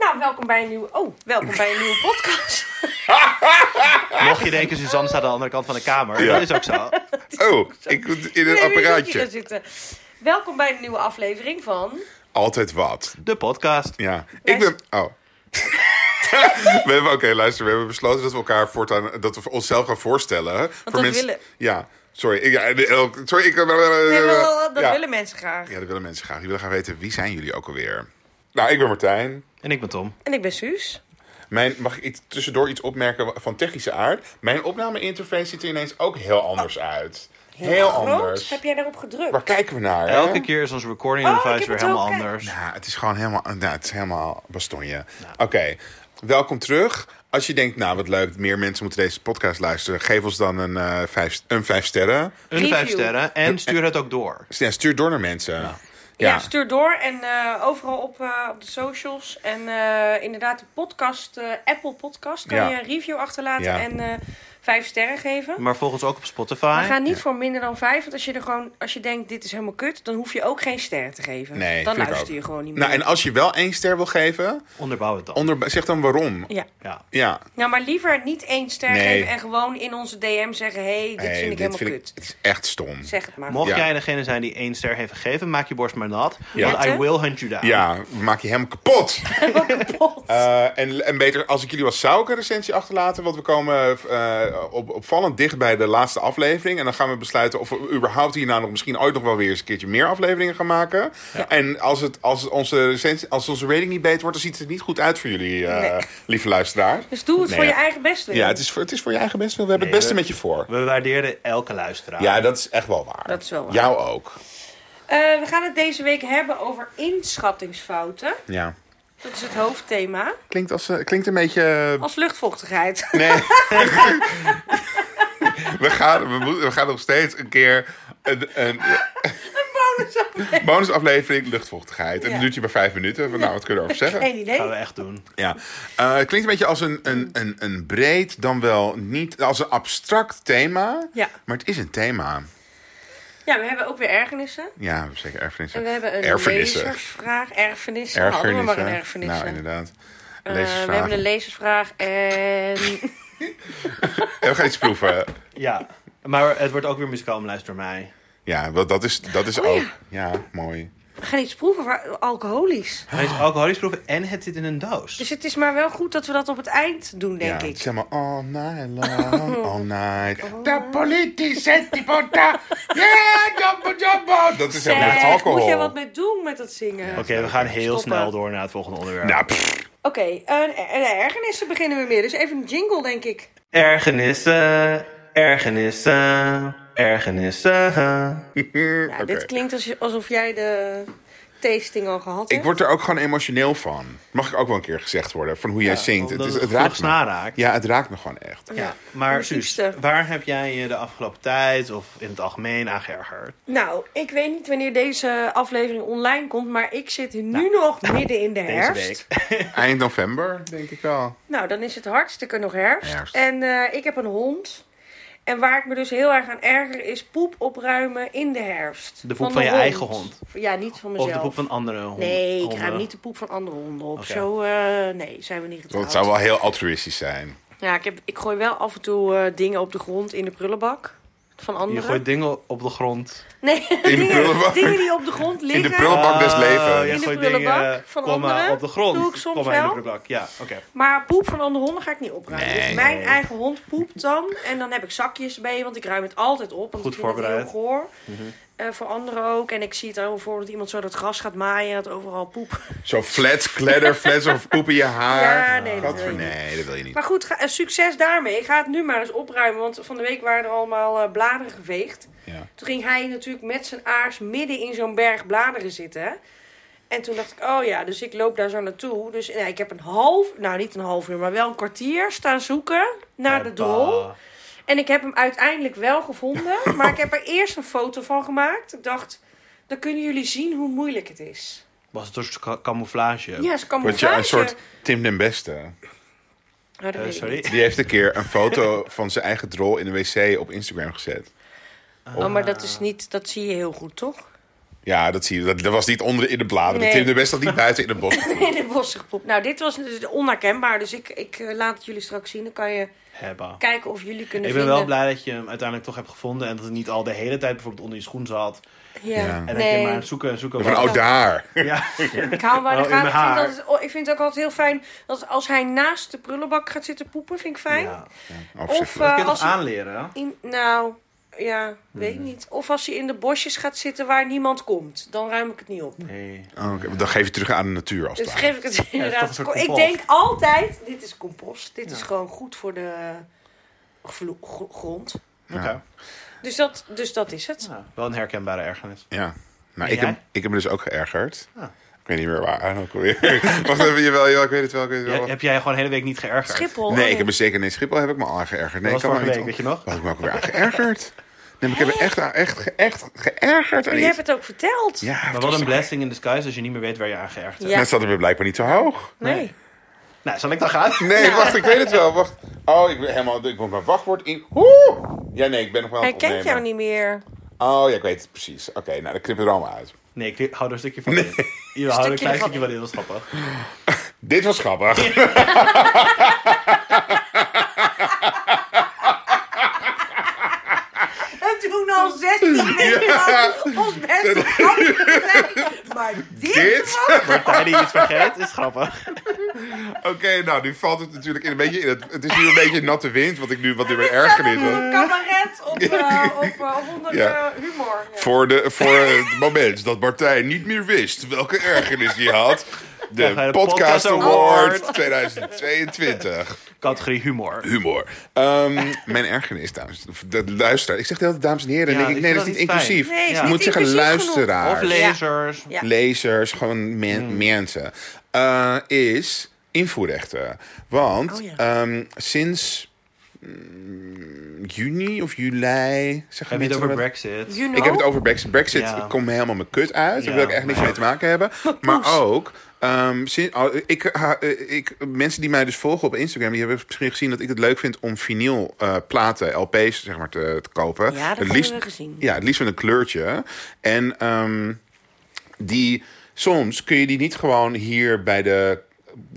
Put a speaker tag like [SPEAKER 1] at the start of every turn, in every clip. [SPEAKER 1] Nou, welkom bij een nieuwe... Oh, welkom bij een nieuwe podcast.
[SPEAKER 2] Mocht je denken, Suzanne staat aan de andere kant van de kamer.
[SPEAKER 3] Ja.
[SPEAKER 2] Dat is ook zo.
[SPEAKER 3] Oh, ik moet in een
[SPEAKER 1] Nee, wie moet hier gaan
[SPEAKER 3] apparaatje.
[SPEAKER 1] zitten? Welkom bij een nieuwe aflevering van...
[SPEAKER 3] Altijd wat.
[SPEAKER 2] De podcast.
[SPEAKER 3] Ja. Ik ben. Oh. we hebben, oké, luister, we hebben besloten dat we elkaar voortaan, dat we onszelf gaan voorstellen. voor
[SPEAKER 1] dat willen-
[SPEAKER 3] Ja, sorry. Ik, ja, de- elk- sorry, ik...
[SPEAKER 1] Nee, wel, wel, dat
[SPEAKER 3] Eh, ja.
[SPEAKER 1] willen mensen graag.
[SPEAKER 3] Ja, dat willen mensen graag. Die willen graag weten, wie zijn jullie ook alweer? Nou, ik ben Martijn.
[SPEAKER 2] En ik ben Tom.
[SPEAKER 1] En ik ben Suus.
[SPEAKER 3] Mijn, mag ik iets- tussendoor iets opmerken van technische aard? Mijn opname-interface ziet er ineens ook heel anders uit. Heel, anders.
[SPEAKER 1] Oh. Heb jij daarop gedrukt?
[SPEAKER 3] Waar kijken we naar? hè?
[SPEAKER 2] Elke keer is onze recording
[SPEAKER 1] Oh, ik
[SPEAKER 2] device
[SPEAKER 1] heb
[SPEAKER 2] weer
[SPEAKER 1] het
[SPEAKER 2] helemaal
[SPEAKER 1] ook, hè.
[SPEAKER 2] anders.
[SPEAKER 3] Ja, het is gewoon helemaal, nou, het is helemaal bastonje. Oké, welkom terug. Als je denkt, nou wat leuk, meer mensen moeten deze podcast luisteren. Geef ons dan een, eh, vijf, een vijf sterren.
[SPEAKER 2] Een
[SPEAKER 1] Review.
[SPEAKER 2] vijf sterren. En stuur het ook door.
[SPEAKER 3] Dus ja, stuur door naar mensen. Ja,
[SPEAKER 1] Ja, stuur door en eh, overal op, eh, op de socials. En eh, inderdaad, de podcast, eh, Apple Podcast, kan
[SPEAKER 3] Ja.
[SPEAKER 1] je een review achterlaten
[SPEAKER 3] Ja.
[SPEAKER 1] en eh, vijf sterren geven.
[SPEAKER 2] Maar volg ons ook op
[SPEAKER 1] Maar
[SPEAKER 2] Spotify.
[SPEAKER 1] ga niet voor minder dan vijf, want als je, er gewoon, als je denkt dit is helemaal kut, dan hoef je ook geen sterren te geven.
[SPEAKER 3] nee,
[SPEAKER 1] dan
[SPEAKER 3] vind ik
[SPEAKER 1] luister je
[SPEAKER 3] ook.
[SPEAKER 1] gewoon niet meer.
[SPEAKER 3] Nou, en als je wel één ster wil geven,
[SPEAKER 2] Onderbouw het dan.
[SPEAKER 3] onder, zeg dan waarom.
[SPEAKER 1] ja.
[SPEAKER 2] Ja.
[SPEAKER 3] Ja,
[SPEAKER 1] Nou, maar liever niet één ster
[SPEAKER 3] Nee.
[SPEAKER 1] geven en gewoon in onze DM zeggen: hé, hey, dit
[SPEAKER 3] Hey,
[SPEAKER 1] vind ik helemaal kut.
[SPEAKER 3] het is echt stom.
[SPEAKER 1] Zeg het maar.
[SPEAKER 2] Mocht
[SPEAKER 3] Ja.
[SPEAKER 2] jij degene zijn die één ster heeft gegeven, maak je borst maar nat.
[SPEAKER 3] Ja.
[SPEAKER 2] Want I will hunt you down.
[SPEAKER 3] Ja, maak je hem kapot. Eh, en, en beter, als ik jullie was, zou ik een recensie achterlaten. Want we komen eh, op, opvallend dicht bij de laatste aflevering. En dan gaan we besluiten of we überhaupt hierna nog misschien ooit nog wel weer eens een keertje meer afleveringen gaan maken. En als, het, als, het onze recensie, als onze rating niet beter wordt, dan ziet het er niet goed uit voor jullie, eh,
[SPEAKER 1] Nee.
[SPEAKER 3] lieve luisteraar.
[SPEAKER 1] Dus doe het
[SPEAKER 3] Nee,
[SPEAKER 1] voor
[SPEAKER 3] ja.
[SPEAKER 1] je eigen best. Willem.
[SPEAKER 3] Ja, het is voor, het is voor je eigen best. We hebben
[SPEAKER 2] Nee,
[SPEAKER 3] het beste
[SPEAKER 2] we-
[SPEAKER 3] met je voor.
[SPEAKER 2] We waardeerden elke luisteraar.
[SPEAKER 3] Ja, dat is echt wel waar.
[SPEAKER 1] Dat is wel waar.
[SPEAKER 3] Jou ook.
[SPEAKER 1] Eh, we gaan het deze week hebben over inschattingsfouten.
[SPEAKER 3] Ja.
[SPEAKER 1] Dat is het hoofdthema.
[SPEAKER 3] Klinkt, als, eh, klinkt een beetje...
[SPEAKER 1] Als luchtvochtigheid.
[SPEAKER 3] Nee. we, gaan, we, moeten- we gaan nog steeds een keer een, een
[SPEAKER 1] Bonusaflevering.
[SPEAKER 3] bonusaflevering luchtvochtigheid. En
[SPEAKER 1] Ja.
[SPEAKER 3] dat duurt je maar vijf minuten. Van, nou, wat kunnen we erover zeggen?
[SPEAKER 1] Geen
[SPEAKER 2] gaan we
[SPEAKER 1] idee.
[SPEAKER 2] echt doen.
[SPEAKER 3] Ja. Eh, het klinkt een beetje als een, een, een, een breed, dan wel niet... Als een abstract thema.
[SPEAKER 1] Ja.
[SPEAKER 3] Maar het is een thema.
[SPEAKER 1] Ja, we hebben ook weer ergernissen.
[SPEAKER 3] Ja, we hebben zeker erfenissen.
[SPEAKER 1] En we hebben een
[SPEAKER 3] erfenissen.
[SPEAKER 1] lezersvraag. Erfenissen. Hadden
[SPEAKER 3] Ergernissen.
[SPEAKER 1] we maar een erfenissen.
[SPEAKER 3] Nou, inderdaad.
[SPEAKER 1] Eh, we
[SPEAKER 3] Lezersvragen.
[SPEAKER 1] hebben een lezersvraag en...
[SPEAKER 3] En we gaan iets proeven.
[SPEAKER 2] Ja. Maar het wordt ook weer muzikaalomlijst door mij.
[SPEAKER 3] Ja, want dat is, dat is
[SPEAKER 1] Oh,
[SPEAKER 3] ook...
[SPEAKER 1] ja.
[SPEAKER 3] ja, mooi.
[SPEAKER 1] We gaan iets proeven voor alcoholisch.
[SPEAKER 2] Hij is alcoholisch proeven en het zit in een doos.
[SPEAKER 1] Dus het is maar wel goed dat we dat op het eind doen, denk
[SPEAKER 3] ja,
[SPEAKER 1] ik. Oh.
[SPEAKER 3] Zeg maar all night long, all night. De politie zet die bota. Yeah, jumbo jumbo. Dat is helemaal echt
[SPEAKER 1] Zeg, Moet jij
[SPEAKER 3] alcohol.
[SPEAKER 1] wat mee doen met dat zingen?
[SPEAKER 2] Oké, we gaan heel
[SPEAKER 1] Stoppen.
[SPEAKER 2] snel door naar het volgende onderwerp.
[SPEAKER 3] Nou, pff.
[SPEAKER 1] Oké, en ergernissen beginnen we meer. Dus even een jingle, denk ik.
[SPEAKER 2] Ergernissen, ergernissen, ergernissen.
[SPEAKER 1] Nou,
[SPEAKER 3] Oké.
[SPEAKER 1] Dit klinkt als- alsof jij de tasting al gehad hebt.
[SPEAKER 3] Ik word er ook gewoon emotioneel van. Mag ik ook wel een keer gezegd worden van hoe jij zingt. Het,
[SPEAKER 2] omdat
[SPEAKER 3] is,
[SPEAKER 2] het
[SPEAKER 3] het raakt
[SPEAKER 2] gevoelens
[SPEAKER 3] me.
[SPEAKER 2] naraakt.
[SPEAKER 3] Ja, het raakt me gewoon echt.
[SPEAKER 2] Ja, maar
[SPEAKER 1] Mijn
[SPEAKER 2] Suus,
[SPEAKER 1] diepste.
[SPEAKER 2] waar heb jij je de afgelopen tijd of in het algemeen aan geërgerd?
[SPEAKER 1] Nou, ik weet niet wanneer deze aflevering online komt, maar ik zit nu nog midden in de
[SPEAKER 2] Nou, Deze
[SPEAKER 1] herfst.
[SPEAKER 2] week.
[SPEAKER 3] Eind november, denk ik wel.
[SPEAKER 1] Nou, dan is het hartstikke nog herfst.
[SPEAKER 3] Herfst.
[SPEAKER 1] En eh, ik heb een hond. En waar ik me dus heel erg aan erger is poep opruimen in de herfst.
[SPEAKER 2] De poep van je eigen hond?
[SPEAKER 1] Ja, niet van mezelf.
[SPEAKER 2] Of de poep van andere honden?
[SPEAKER 1] Nee, ik ruim
[SPEAKER 2] honden?
[SPEAKER 1] niet de poep van andere honden op.
[SPEAKER 2] eh, Oké.
[SPEAKER 1] Zo, eh, nee, zijn we niet getrouwd.
[SPEAKER 3] Dat zou wel heel altruïstisch zijn.
[SPEAKER 1] Ja, ik, heb, ik gooi wel af en toe eh, dingen op de grond in de prullenbak van
[SPEAKER 2] Je
[SPEAKER 1] anderen.
[SPEAKER 2] gooit dingen op de grond.
[SPEAKER 1] Nee, dingen,
[SPEAKER 3] prullenbak?
[SPEAKER 1] dingen die op de grond liggen.
[SPEAKER 3] In de prullenbak des
[SPEAKER 2] Oh,
[SPEAKER 3] levens.
[SPEAKER 2] jij
[SPEAKER 1] In de
[SPEAKER 2] gooit
[SPEAKER 1] prullenbak
[SPEAKER 2] dingen,
[SPEAKER 1] van
[SPEAKER 2] komma,
[SPEAKER 1] anderen.
[SPEAKER 2] op de grond.
[SPEAKER 1] Doe ik soms
[SPEAKER 2] komma, in de
[SPEAKER 1] wel.
[SPEAKER 2] prullenbak. Ja, oké.
[SPEAKER 1] Maar poep van andere honden ga ik niet opruimen.
[SPEAKER 3] Nee.
[SPEAKER 1] Dus mijn eigen hond poept dan. En dan heb ik zakjes mee, want ik ruim het altijd op. Want
[SPEAKER 2] Goed
[SPEAKER 1] ik vind
[SPEAKER 2] voorbereid.
[SPEAKER 1] Het heel goor. Eh, voor anderen ook. En ik zie het al voor dat iemand zo dat gras gaat maaien. en Dat overal poep.
[SPEAKER 3] Zo flat, kledder, flats of poep in je haar.
[SPEAKER 1] Ja, nee, dat wil je niet.
[SPEAKER 3] nee, dat wil je niet.
[SPEAKER 1] Maar goed, ga- eh, succes daarmee. Ik ga het nu maar eens opruimen. Want van de week waren er allemaal eh, bladeren geveegd.
[SPEAKER 3] Ja.
[SPEAKER 1] Toen ging hij natuurlijk met zijn aars midden in zo'n berg bladeren zitten. En toen dacht ik, oh ja, dus ik loop daar zo naartoe. Dus nou, ik heb een half, nou niet een half uur, maar wel een kwartier staan zoeken naar de drol.
[SPEAKER 2] Hoppa.
[SPEAKER 1] En ik heb hem uiteindelijk wel gevonden. Maar ik heb er eerst een foto van gemaakt. Ik dacht, dan kunnen jullie zien hoe moeilijk het is.
[SPEAKER 2] Was het een soort ca- camouflage?
[SPEAKER 1] Ja, ze kan
[SPEAKER 3] Word je een soort Tim den Beste.
[SPEAKER 1] Nou, dat
[SPEAKER 2] Eh,
[SPEAKER 1] weet ik niet.
[SPEAKER 2] sorry.
[SPEAKER 3] Die heeft een keer een foto van zijn eigen drol in de wc op Instagram gezet.
[SPEAKER 1] Oh, maar dat is niet, dat zie je heel goed, toch?
[SPEAKER 3] Ja, dat zie je. Dat, dat was niet onder in de bladeren.
[SPEAKER 1] Nee.
[SPEAKER 3] Tim de Best had niet buiten in het bos.
[SPEAKER 1] in de bossen gepoept. Nou, dit was dus onherkenbaar. Dus ik, ik eh, laat het jullie straks zien. Dan kan je
[SPEAKER 2] Hebba.
[SPEAKER 1] kijken of jullie kunnen
[SPEAKER 2] Ik ben
[SPEAKER 1] vinden.
[SPEAKER 2] wel blij dat je hem uiteindelijk toch hebt gevonden. En dat het niet al de hele tijd bijvoorbeeld onder je schoen zat.
[SPEAKER 1] Ja.
[SPEAKER 3] Ja. En
[SPEAKER 2] En dat je
[SPEAKER 1] Nee,
[SPEAKER 2] maar aan het zoeken en zoeken
[SPEAKER 3] Van oh, daar.
[SPEAKER 2] Ja.
[SPEAKER 1] ik hou hem wel in de
[SPEAKER 2] Oh, in
[SPEAKER 1] gaten.
[SPEAKER 2] mijn
[SPEAKER 1] Ik vind,
[SPEAKER 2] haar.
[SPEAKER 1] dat het- oh, ik vind het ook altijd heel fijn dat als hij naast de prullenbak gaat zitten poepen, vind ik fijn.
[SPEAKER 2] Ja.
[SPEAKER 3] Oh,
[SPEAKER 1] Of
[SPEAKER 3] Afzichtelijk.
[SPEAKER 2] Dat
[SPEAKER 1] eh,
[SPEAKER 2] kun je
[SPEAKER 1] als
[SPEAKER 2] toch
[SPEAKER 1] hij
[SPEAKER 2] aanleren? hè?
[SPEAKER 1] in, nou, ja, weet
[SPEAKER 2] Hmm.
[SPEAKER 1] ik niet. Of als hij in de bosjes gaat zitten waar niemand komt, dan ruim ik het niet op.
[SPEAKER 2] Nee.
[SPEAKER 3] Oh, oké. Dan geef je terug aan de natuur als het
[SPEAKER 1] Dus
[SPEAKER 3] ware.
[SPEAKER 1] geef ik het
[SPEAKER 2] toch een
[SPEAKER 1] inderdaad.
[SPEAKER 2] soort
[SPEAKER 1] ik
[SPEAKER 2] compost.
[SPEAKER 1] denk altijd, dit is compost. Dit is
[SPEAKER 2] Ja.
[SPEAKER 1] gewoon goed voor de glo- gro- grond.
[SPEAKER 2] Oké.
[SPEAKER 3] Ja.
[SPEAKER 1] Dus dat, dus dat is het.
[SPEAKER 2] Nou, wel een herkenbare ergernis.
[SPEAKER 3] Ja. Nou,
[SPEAKER 2] En
[SPEAKER 3] ik heb,
[SPEAKER 2] jij?
[SPEAKER 3] ik heb me dus ook geërgerd.
[SPEAKER 2] Ah.
[SPEAKER 3] Ik weet niet meer waar aan ook alweer. Wacht even, jawel, jawel, ik weet het wel. Ik weet het wel.
[SPEAKER 2] Ja, heb jij gewoon de hele week niet geërgerd?
[SPEAKER 1] Schiphol.
[SPEAKER 3] Nee,
[SPEAKER 1] oh
[SPEAKER 3] ik heb me zeker niet. Schiphol heb ik me al aan geërgerd. Nee,
[SPEAKER 2] Dat
[SPEAKER 3] ik
[SPEAKER 2] was
[SPEAKER 3] kan me
[SPEAKER 2] vorige
[SPEAKER 3] niet
[SPEAKER 2] week,
[SPEAKER 3] on-
[SPEAKER 2] weet je nog?
[SPEAKER 3] Wat heb ik me ook weer aan geërgerd? Nee, maar ik heb me echt, aan- echt, ge- echt geërgerd.
[SPEAKER 1] Maar
[SPEAKER 3] Aan
[SPEAKER 1] je hebt
[SPEAKER 3] iets.
[SPEAKER 1] het ook verteld.
[SPEAKER 3] Ja, het
[SPEAKER 2] Maar
[SPEAKER 3] was
[SPEAKER 2] wat een
[SPEAKER 3] toch-
[SPEAKER 2] blessing in disguise als je niet meer weet waar je aan geërgerd hebt.
[SPEAKER 1] Ja.
[SPEAKER 3] Net zat het me blijkbaar niet zo hoog.
[SPEAKER 1] Nee.
[SPEAKER 2] Nee. Nou, zal ik dan gaan?
[SPEAKER 3] Nee, wacht, ik weet het wel. Wacht. Oh, ik, ben helemaal, ik moet mijn wachtwoord in. Oeh! Ja, nee, ik ben nog wel aan
[SPEAKER 1] Hij
[SPEAKER 3] het
[SPEAKER 1] kent jou
[SPEAKER 3] opnemen.
[SPEAKER 1] niet meer.
[SPEAKER 3] Oh, ja, ik weet het precies. Oké, nou, dan knip het er allemaal uit.
[SPEAKER 2] Nee, ik li- hou er een stukje van in. Je houdt er een klein
[SPEAKER 1] van
[SPEAKER 2] stukje van in, dat is grappig.
[SPEAKER 3] Dit was grappig.
[SPEAKER 1] En toen al 16 minuten lang ons best op Maar dit,
[SPEAKER 3] Dit?
[SPEAKER 2] Partij die iets vergeet, is grappig.
[SPEAKER 3] Oké, nou, nu valt het natuurlijk in een beetje in het... Het is nu een beetje natte wind, wat ik nu wat nu weer
[SPEAKER 1] staat op
[SPEAKER 3] erger is. hoor.
[SPEAKER 1] een cabaret op, eh, op, eh, of onder
[SPEAKER 3] Ja.
[SPEAKER 1] de humor. Ja.
[SPEAKER 3] Voor, de, voor het moment dat Martijn niet meer wist welke ergernis hij had.
[SPEAKER 2] Dan ga
[SPEAKER 3] De
[SPEAKER 2] je de
[SPEAKER 3] Podcast
[SPEAKER 2] Podcast
[SPEAKER 3] Award
[SPEAKER 2] Award.
[SPEAKER 3] 2022.
[SPEAKER 2] Categorie humor.
[SPEAKER 3] Humor. Ehm, mijn ergernis, dames. De luisteraar. Ik zeg de hele tijd dames en heren. en
[SPEAKER 2] Ja,
[SPEAKER 3] denk ik,
[SPEAKER 2] ik
[SPEAKER 3] nee, dat
[SPEAKER 2] vind
[SPEAKER 3] is niet
[SPEAKER 2] dat niet fijn.
[SPEAKER 3] inclusief.
[SPEAKER 1] Nee, is
[SPEAKER 3] Je
[SPEAKER 1] niet
[SPEAKER 3] moet zeggen
[SPEAKER 1] inclusief genoeg.
[SPEAKER 2] Of
[SPEAKER 3] luisteraars.
[SPEAKER 2] lezers.
[SPEAKER 1] Ja.
[SPEAKER 3] lezers, gewoon men-
[SPEAKER 2] Hmm.
[SPEAKER 3] mensen. eh, is invoerrechten. Want
[SPEAKER 1] Oh ja.
[SPEAKER 3] ehm, sinds mm, juni of juli... Zeg
[SPEAKER 2] Heb je het over
[SPEAKER 3] Brexit?
[SPEAKER 2] Brexit?
[SPEAKER 1] You know?
[SPEAKER 3] Ik heb het over Brexit. Brexit
[SPEAKER 2] Ja.
[SPEAKER 3] komt me helemaal mijn kut uit. Daar
[SPEAKER 2] Ja,
[SPEAKER 3] wil ik echt niks
[SPEAKER 2] maar-
[SPEAKER 3] mee te maken hebben. Maar ook... ehm, sin- oh, ik, ha- eh, ik, mensen die mij dus volgen op Instagram, die hebben misschien gezien dat ik het leuk vind om vinyl eh, platen, LP's zeg maar, te, te kopen.
[SPEAKER 1] Ja, dat
[SPEAKER 3] Het
[SPEAKER 1] hebben
[SPEAKER 3] liefst-
[SPEAKER 1] we gezien.
[SPEAKER 3] Ja, het liefst met een kleurtje. En ehm, die soms kun je die niet gewoon hier bij de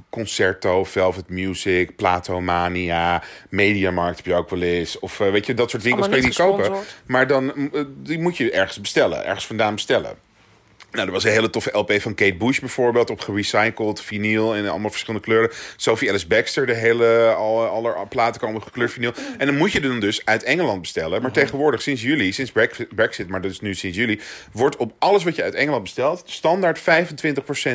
[SPEAKER 3] Concerto, Velvet Music, Platomania, Mediamarkt heb je ook wel eens. Of eh, weet je, dat soort dingen.
[SPEAKER 1] Allemaal
[SPEAKER 3] kun je
[SPEAKER 1] niet
[SPEAKER 3] die kopen.
[SPEAKER 1] gesponsord.
[SPEAKER 3] Maar dan mm, eh, die moet je ergens bestellen, ergens vandaan bestellen. Nou, er was een hele toffe LP van Kate Bush bijvoorbeeld, op gerecycled vinyl en allemaal verschillende kleuren. Sophie Ellis Baxter, de hele, alle, alle platen komen gekleurd vinyl. En dan moet je dan dus uit Engeland bestellen. Maar tegenwoordig, sinds juli, sinds Brex- Brexit, maar dus nu sinds juli, wordt op alles wat je uit Engeland bestelt, standaard 25%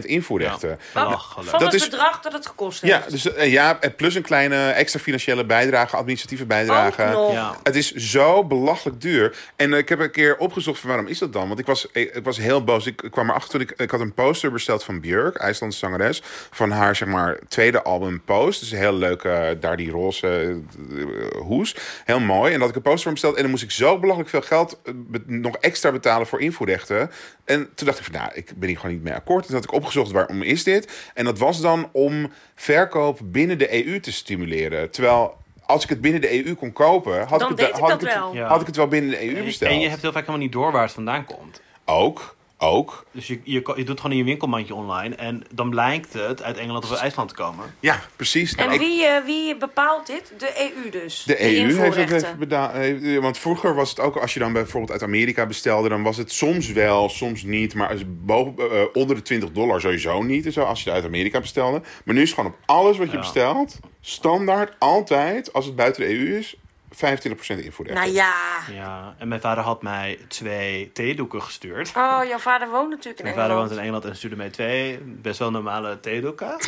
[SPEAKER 3] invoerrechten.
[SPEAKER 2] Belachelijk.
[SPEAKER 1] Van
[SPEAKER 3] Dat
[SPEAKER 1] het
[SPEAKER 3] is-
[SPEAKER 1] bedrag dat het gekost heeft.
[SPEAKER 3] Ja, dus, eh, ja, en plus een kleine extra financiële bijdrage, administratieve bijdrage.
[SPEAKER 1] Ook nog.
[SPEAKER 2] Ja.
[SPEAKER 3] Het is zo belachelijk duur. En eh, ik heb een keer opgezocht van waarom is dat dan? Want ik was, eh, ik, ik was heel boos. Ik, ik kwam erachter, toen ik, ik had een poster besteld van Björk, IJslandse zangeres. Van haar, zeg maar, tweede album Post. Dus een heel leuke, eh, daar die roze eh, hoes. Heel mooi. En dat ik een poster van besteld. En dan moest ik zo belachelijk veel geld eh, be- nog extra betalen voor invoerrechten. En toen dacht ik van, nou, ik ben hier gewoon niet mee akkoord. En toen had ik opgezocht, waarom is dit? En dat was dan om verkoop binnen de EU te stimuleren. Terwijl... Als ik het binnen de EU kon kopen, had
[SPEAKER 1] Dan
[SPEAKER 3] ik het,
[SPEAKER 1] deed ik
[SPEAKER 3] had
[SPEAKER 1] dat
[SPEAKER 3] het-
[SPEAKER 1] wel.
[SPEAKER 2] Ja.
[SPEAKER 3] had ik het wel binnen de EU
[SPEAKER 2] En,
[SPEAKER 3] besteld.
[SPEAKER 2] en je hebt heel vaak helemaal niet door waar het vandaan komt.
[SPEAKER 3] Ook, ook.
[SPEAKER 2] Dus je, je, ko- je doet gewoon in je winkelmandje online en dan blijkt het uit Engeland of uit IJsland te komen.
[SPEAKER 3] Ja, precies. Nou,
[SPEAKER 1] En
[SPEAKER 3] ik-
[SPEAKER 1] wie, eh, wie bepaalt dit? De EU dus.
[SPEAKER 3] de EU heeft het
[SPEAKER 1] invoerrechten.
[SPEAKER 3] even beda- eh, Want vroeger was het ook, als je dan bijvoorbeeld uit Amerika bestelde, dan was het soms wel, soms niet. Maar als boven, eh, eh, onder de 20 dollar sowieso niet. En zo, als je het uit Amerika bestelde. Maar nu is het gewoon op alles wat je
[SPEAKER 2] Ja.
[SPEAKER 3] bestelt, standaard, altijd, als het buiten de EU is, 25% invoerrecht.
[SPEAKER 1] Nou ja.
[SPEAKER 2] Ja, en mijn vader had mij twee theedoeken gestuurd.
[SPEAKER 1] Oh, jouw vader woont natuurlijk in Engeland.
[SPEAKER 2] Mijn vader woont in Engeland en stuurde mij twee best wel normale theedoeken.
[SPEAKER 3] ook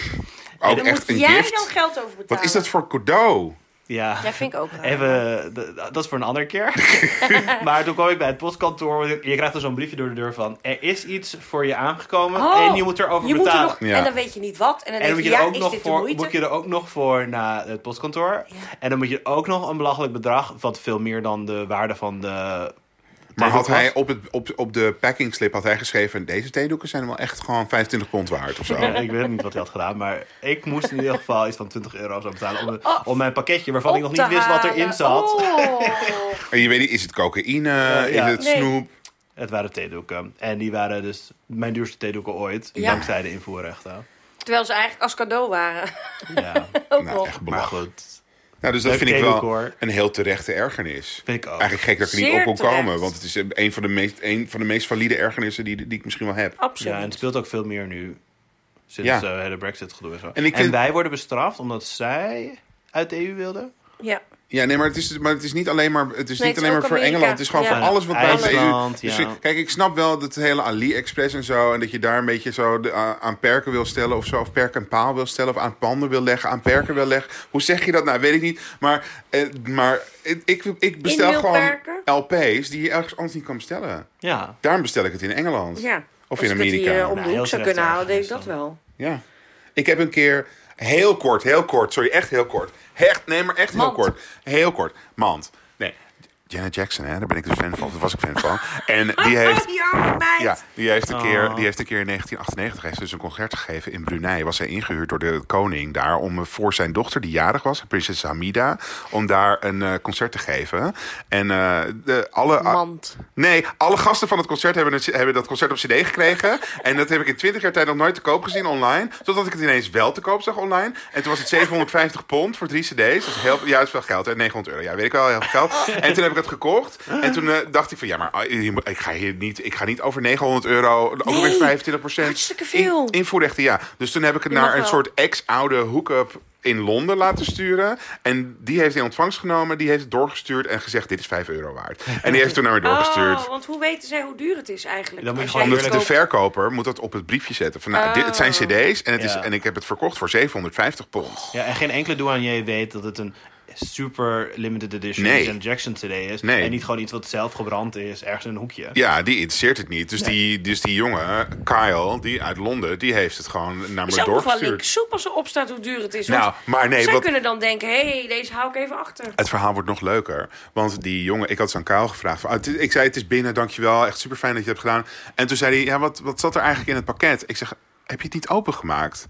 [SPEAKER 1] Daar
[SPEAKER 3] echt
[SPEAKER 1] moet
[SPEAKER 3] een
[SPEAKER 1] jij
[SPEAKER 3] gift.
[SPEAKER 1] dan geld over betalen.
[SPEAKER 3] Wat is dat voor cadeau?
[SPEAKER 2] Ja.
[SPEAKER 1] Ja, vind ik ook raar.
[SPEAKER 2] Even, d- d- dat is voor een andere keer. maar toen kwam ik bij het postkantoor. want Je krijgt er zo'n briefje door de deur van... er is iets voor je aangekomen
[SPEAKER 1] Oh,
[SPEAKER 2] en je moet erover
[SPEAKER 1] je moet er
[SPEAKER 2] betalen.
[SPEAKER 1] nog,
[SPEAKER 3] Ja.
[SPEAKER 1] En dan weet je niet wat. En dan
[SPEAKER 2] En dan
[SPEAKER 1] denk
[SPEAKER 2] moet
[SPEAKER 1] je,
[SPEAKER 2] je, er
[SPEAKER 1] ja,
[SPEAKER 2] ook
[SPEAKER 1] is
[SPEAKER 2] nog
[SPEAKER 1] dit de
[SPEAKER 2] voor,
[SPEAKER 1] moeite?
[SPEAKER 2] moet je er ook nog voor naar het postkantoor. En dan moet je ook nog een belachelijk bedrag... wat veel meer dan de waarde van de...
[SPEAKER 3] Maar had
[SPEAKER 2] theedoek was.
[SPEAKER 3] hij op, het, op, op de packing slip had hij geschreven: deze theedoeken zijn wel echt gewoon 25 pond waard of zo.
[SPEAKER 2] Ja, ik weet niet wat hij had gedaan, maar ik moest in ieder geval iets van 20 euro of zo betalen. Om, om mijn pakketje, waarvan ik nog
[SPEAKER 1] Oh. Op
[SPEAKER 2] niet
[SPEAKER 1] te
[SPEAKER 2] wist wat
[SPEAKER 1] halen.
[SPEAKER 2] erin zat.
[SPEAKER 1] Oh.
[SPEAKER 3] En je weet niet, is het cocaïne?
[SPEAKER 2] ja.
[SPEAKER 3] Is het
[SPEAKER 1] Nee.
[SPEAKER 3] snoep?
[SPEAKER 2] Het waren theedoeken. En die waren dus mijn duurste theedoeken ooit.
[SPEAKER 1] Ja.
[SPEAKER 2] Dankzij de invoerrechten.
[SPEAKER 1] Terwijl ze eigenlijk als cadeau waren.
[SPEAKER 2] Ja,
[SPEAKER 1] Ook
[SPEAKER 3] Nou,
[SPEAKER 1] nog.
[SPEAKER 3] echt
[SPEAKER 2] maar
[SPEAKER 3] belachelijk.
[SPEAKER 2] goed.
[SPEAKER 3] Nou, dus dat
[SPEAKER 2] Leuk
[SPEAKER 3] vind ik
[SPEAKER 2] theedoek,
[SPEAKER 3] wel
[SPEAKER 2] hoor.
[SPEAKER 3] een heel terechte ergernis.
[SPEAKER 2] Vind ik ook.
[SPEAKER 3] Eigenlijk gek dat ik er niet
[SPEAKER 1] Zeer
[SPEAKER 3] op kon
[SPEAKER 1] terecht.
[SPEAKER 3] komen. Want het is een van de meest, een van de meest valide ergernissen die, die ik misschien wel heb.
[SPEAKER 1] Absoluut.
[SPEAKER 2] Ja, en het speelt ook veel meer nu. Sinds
[SPEAKER 3] Ja.
[SPEAKER 2] ja. hele Brexit gedoe en zo.
[SPEAKER 3] En
[SPEAKER 2] En,
[SPEAKER 3] ik vind-
[SPEAKER 2] wij worden bestraft omdat zij uit de EU wilden.
[SPEAKER 1] Ja.
[SPEAKER 3] Ja, nee, maar het is, maar het is niet alleen maar, het is
[SPEAKER 1] Nee,
[SPEAKER 3] niet
[SPEAKER 1] het is
[SPEAKER 3] alleen maar
[SPEAKER 1] ook
[SPEAKER 3] voor
[SPEAKER 1] Amerika.
[SPEAKER 3] Engeland. Het is gewoon
[SPEAKER 1] Ja.
[SPEAKER 3] voor alles wat buiten de EU.
[SPEAKER 2] IJsland,
[SPEAKER 3] Dus
[SPEAKER 2] ja.
[SPEAKER 3] ik- kijk, ik snap wel dat het hele AliExpress en zo. En dat je daar een beetje zo de- aan aan perken wil stellen of zo. Of perken en paal wil stellen. Of aan panden wil leggen. Aan perken wil leggen. Hoe zeg je dat nou? Weet ik niet. Maar, eh, maar ik, ik, ik bestel gewoon
[SPEAKER 1] Indeelperken?
[SPEAKER 3] LP's die je ergens anders niet kan bestellen.
[SPEAKER 2] Ja.
[SPEAKER 3] Daarom bestel ik het in Engeland.
[SPEAKER 1] ja.
[SPEAKER 3] Of
[SPEAKER 1] Als
[SPEAKER 3] in
[SPEAKER 1] ik het
[SPEAKER 3] Amerika.
[SPEAKER 1] hier eh, om
[SPEAKER 2] Nou,
[SPEAKER 1] de
[SPEAKER 2] heel
[SPEAKER 1] hoek zou
[SPEAKER 2] terecht
[SPEAKER 1] kunnen halen, deed ik dat
[SPEAKER 2] eigenlijk is
[SPEAKER 1] wel.
[SPEAKER 3] Ja. Ik heb een keer heel kort, heel kort, sorry, echt heel kort. Echt, nee, maar echt heel
[SPEAKER 1] Mand.
[SPEAKER 3] kort. Heel kort. Mand. Nee. Janet Jackson, hè, daar ben ik dus fan van. Daar was ik fan van. En die heeft.
[SPEAKER 1] Ah, die arme meid.
[SPEAKER 3] Ja, die heeft, een
[SPEAKER 2] Oh.
[SPEAKER 3] keer, die heeft een keer in 1998 heeft ze dus een concert gegeven in Brunei. Was zij ingehuurd door de koning daar om eh, voor zijn dochter, die jarig was, prinses Hamida, om daar een eh, concert te geven. En eh, de, alle,
[SPEAKER 1] Mand.
[SPEAKER 3] Nee, alle gasten van het concert hebben, het- hebben dat concert op CD gekregen. En dat heb ik in 20 jaar tijd nog nooit te koop gezien online. Totdat ik het ineens wel te koop zag online. En toen was het 750 pond voor drie CD's. Dat is heel, ja, dat is veel geld. Hè? 900 euro. Ja, weet ik wel, heel veel geld. En toen heb ik het gekocht. En toen eh, dacht ik van ja, maar ah, hier moet- ik ga hier niet, ik ga niet over 900 euro. Ook
[SPEAKER 1] Nee,
[SPEAKER 3] weer 25 procent.
[SPEAKER 1] hartstikke veel.
[SPEAKER 3] invoerrechten, ja. Dus toen heb ik het
[SPEAKER 1] Je
[SPEAKER 3] naar
[SPEAKER 1] mag
[SPEAKER 3] een
[SPEAKER 1] wel.
[SPEAKER 3] soort ex-oude hookup in Londen laten sturen. En die heeft in ontvangst genomen. Die heeft het doorgestuurd en gezegd... dit is 5 euro waard. En die heeft toen naar me doorgestuurd.
[SPEAKER 1] Oh, want hoe weten zij hoe duur het is eigenlijk?
[SPEAKER 2] Dan moet
[SPEAKER 1] Als
[SPEAKER 2] je gewoon
[SPEAKER 1] jij
[SPEAKER 3] Omdat
[SPEAKER 1] het
[SPEAKER 3] de
[SPEAKER 2] Eerlijk.
[SPEAKER 1] koopt.
[SPEAKER 3] verkoper moet dat op het briefje zetten. Van, nou, dit, het zijn
[SPEAKER 1] Oh.
[SPEAKER 3] cd's en, het is,
[SPEAKER 2] Ja.
[SPEAKER 3] en ik heb het verkocht voor 750 pond.
[SPEAKER 2] ja. En geen enkele douanier weet dat het een super limited edition
[SPEAKER 3] Nee.
[SPEAKER 2] Janet Jackson CD is.
[SPEAKER 3] Nee.
[SPEAKER 2] En niet gewoon iets wat zelf gebrand is ergens in een hoekje.
[SPEAKER 3] Ja, die interesseert het niet. Dus, die, dus die jongen, Kyle, die uit Londen, die heeft het gewoon naar
[SPEAKER 1] Is
[SPEAKER 3] me
[SPEAKER 1] ook nog wel link
[SPEAKER 3] doorgestuurd.
[SPEAKER 1] soep als er op staat hoe duur het is.
[SPEAKER 3] Nou,
[SPEAKER 1] want
[SPEAKER 3] maar nee,
[SPEAKER 1] zij
[SPEAKER 3] wat,
[SPEAKER 1] kunnen dan denken, hé, hey, deze hou ik even achter.
[SPEAKER 3] Het verhaal wordt nog leuker. Want die jongen, ik had zo'n kuil gevraagd. van, "Ah, het is- ik zei, het is binnen, dankjewel. Echt super fijn dat je het hebt gedaan. En toen zei hij, ja, wat, wat zat er eigenlijk in het pakket? Ik zeg, heb je het niet opengemaakt?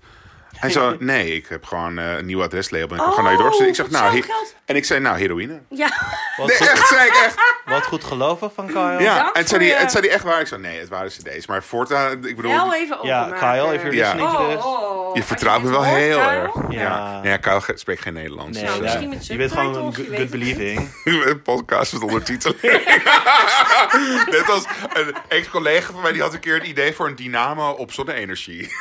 [SPEAKER 3] Hij zo, nee, ik heb gewoon eh, een nieuw adreslabel. En ik
[SPEAKER 1] Oh,
[SPEAKER 3] heb gewoon naar je doorgestuurd. Ik zeg,
[SPEAKER 1] voor
[SPEAKER 3] nou,
[SPEAKER 1] hetzelfde
[SPEAKER 3] he-
[SPEAKER 1] geld.
[SPEAKER 3] en ik zei, nou, heroïne.
[SPEAKER 1] Ja,
[SPEAKER 2] Wat,
[SPEAKER 3] Nee,
[SPEAKER 2] goed,
[SPEAKER 3] echt, zei ik echt.
[SPEAKER 2] wat goed gelovig van Kyle.
[SPEAKER 3] Ja,
[SPEAKER 1] Dank
[SPEAKER 3] en zei
[SPEAKER 1] voor
[SPEAKER 3] die,
[SPEAKER 1] je-
[SPEAKER 3] het zei die echt waar. Ik zei, nee, het waren cd's. Maar voortaan, ik bedoel...
[SPEAKER 1] wel
[SPEAKER 3] die-
[SPEAKER 1] even
[SPEAKER 2] Ja,
[SPEAKER 1] openmaken.
[SPEAKER 2] Kyle, if you're
[SPEAKER 3] Ja.
[SPEAKER 2] listening to this.
[SPEAKER 1] oh.
[SPEAKER 3] je vertrouwt
[SPEAKER 1] Als dit
[SPEAKER 3] me wel
[SPEAKER 1] hoort,
[SPEAKER 3] heel
[SPEAKER 1] Kyle.
[SPEAKER 3] erg. Ja.
[SPEAKER 2] Ja.
[SPEAKER 3] ja. Nee, Kyle ge- spreekt geen Nederlands.
[SPEAKER 2] Nee,
[SPEAKER 3] dus,
[SPEAKER 1] Nou,
[SPEAKER 2] ja.
[SPEAKER 1] misschien
[SPEAKER 3] eh,
[SPEAKER 1] met
[SPEAKER 2] je bent gewoon een
[SPEAKER 1] subtitles,
[SPEAKER 2] good,
[SPEAKER 1] je weet het niet.
[SPEAKER 2] believing.
[SPEAKER 3] Een podcast met ondertiteling. Net als een ex-collega van mij, die had een keer een idee voor een dynamo op zonne-energie.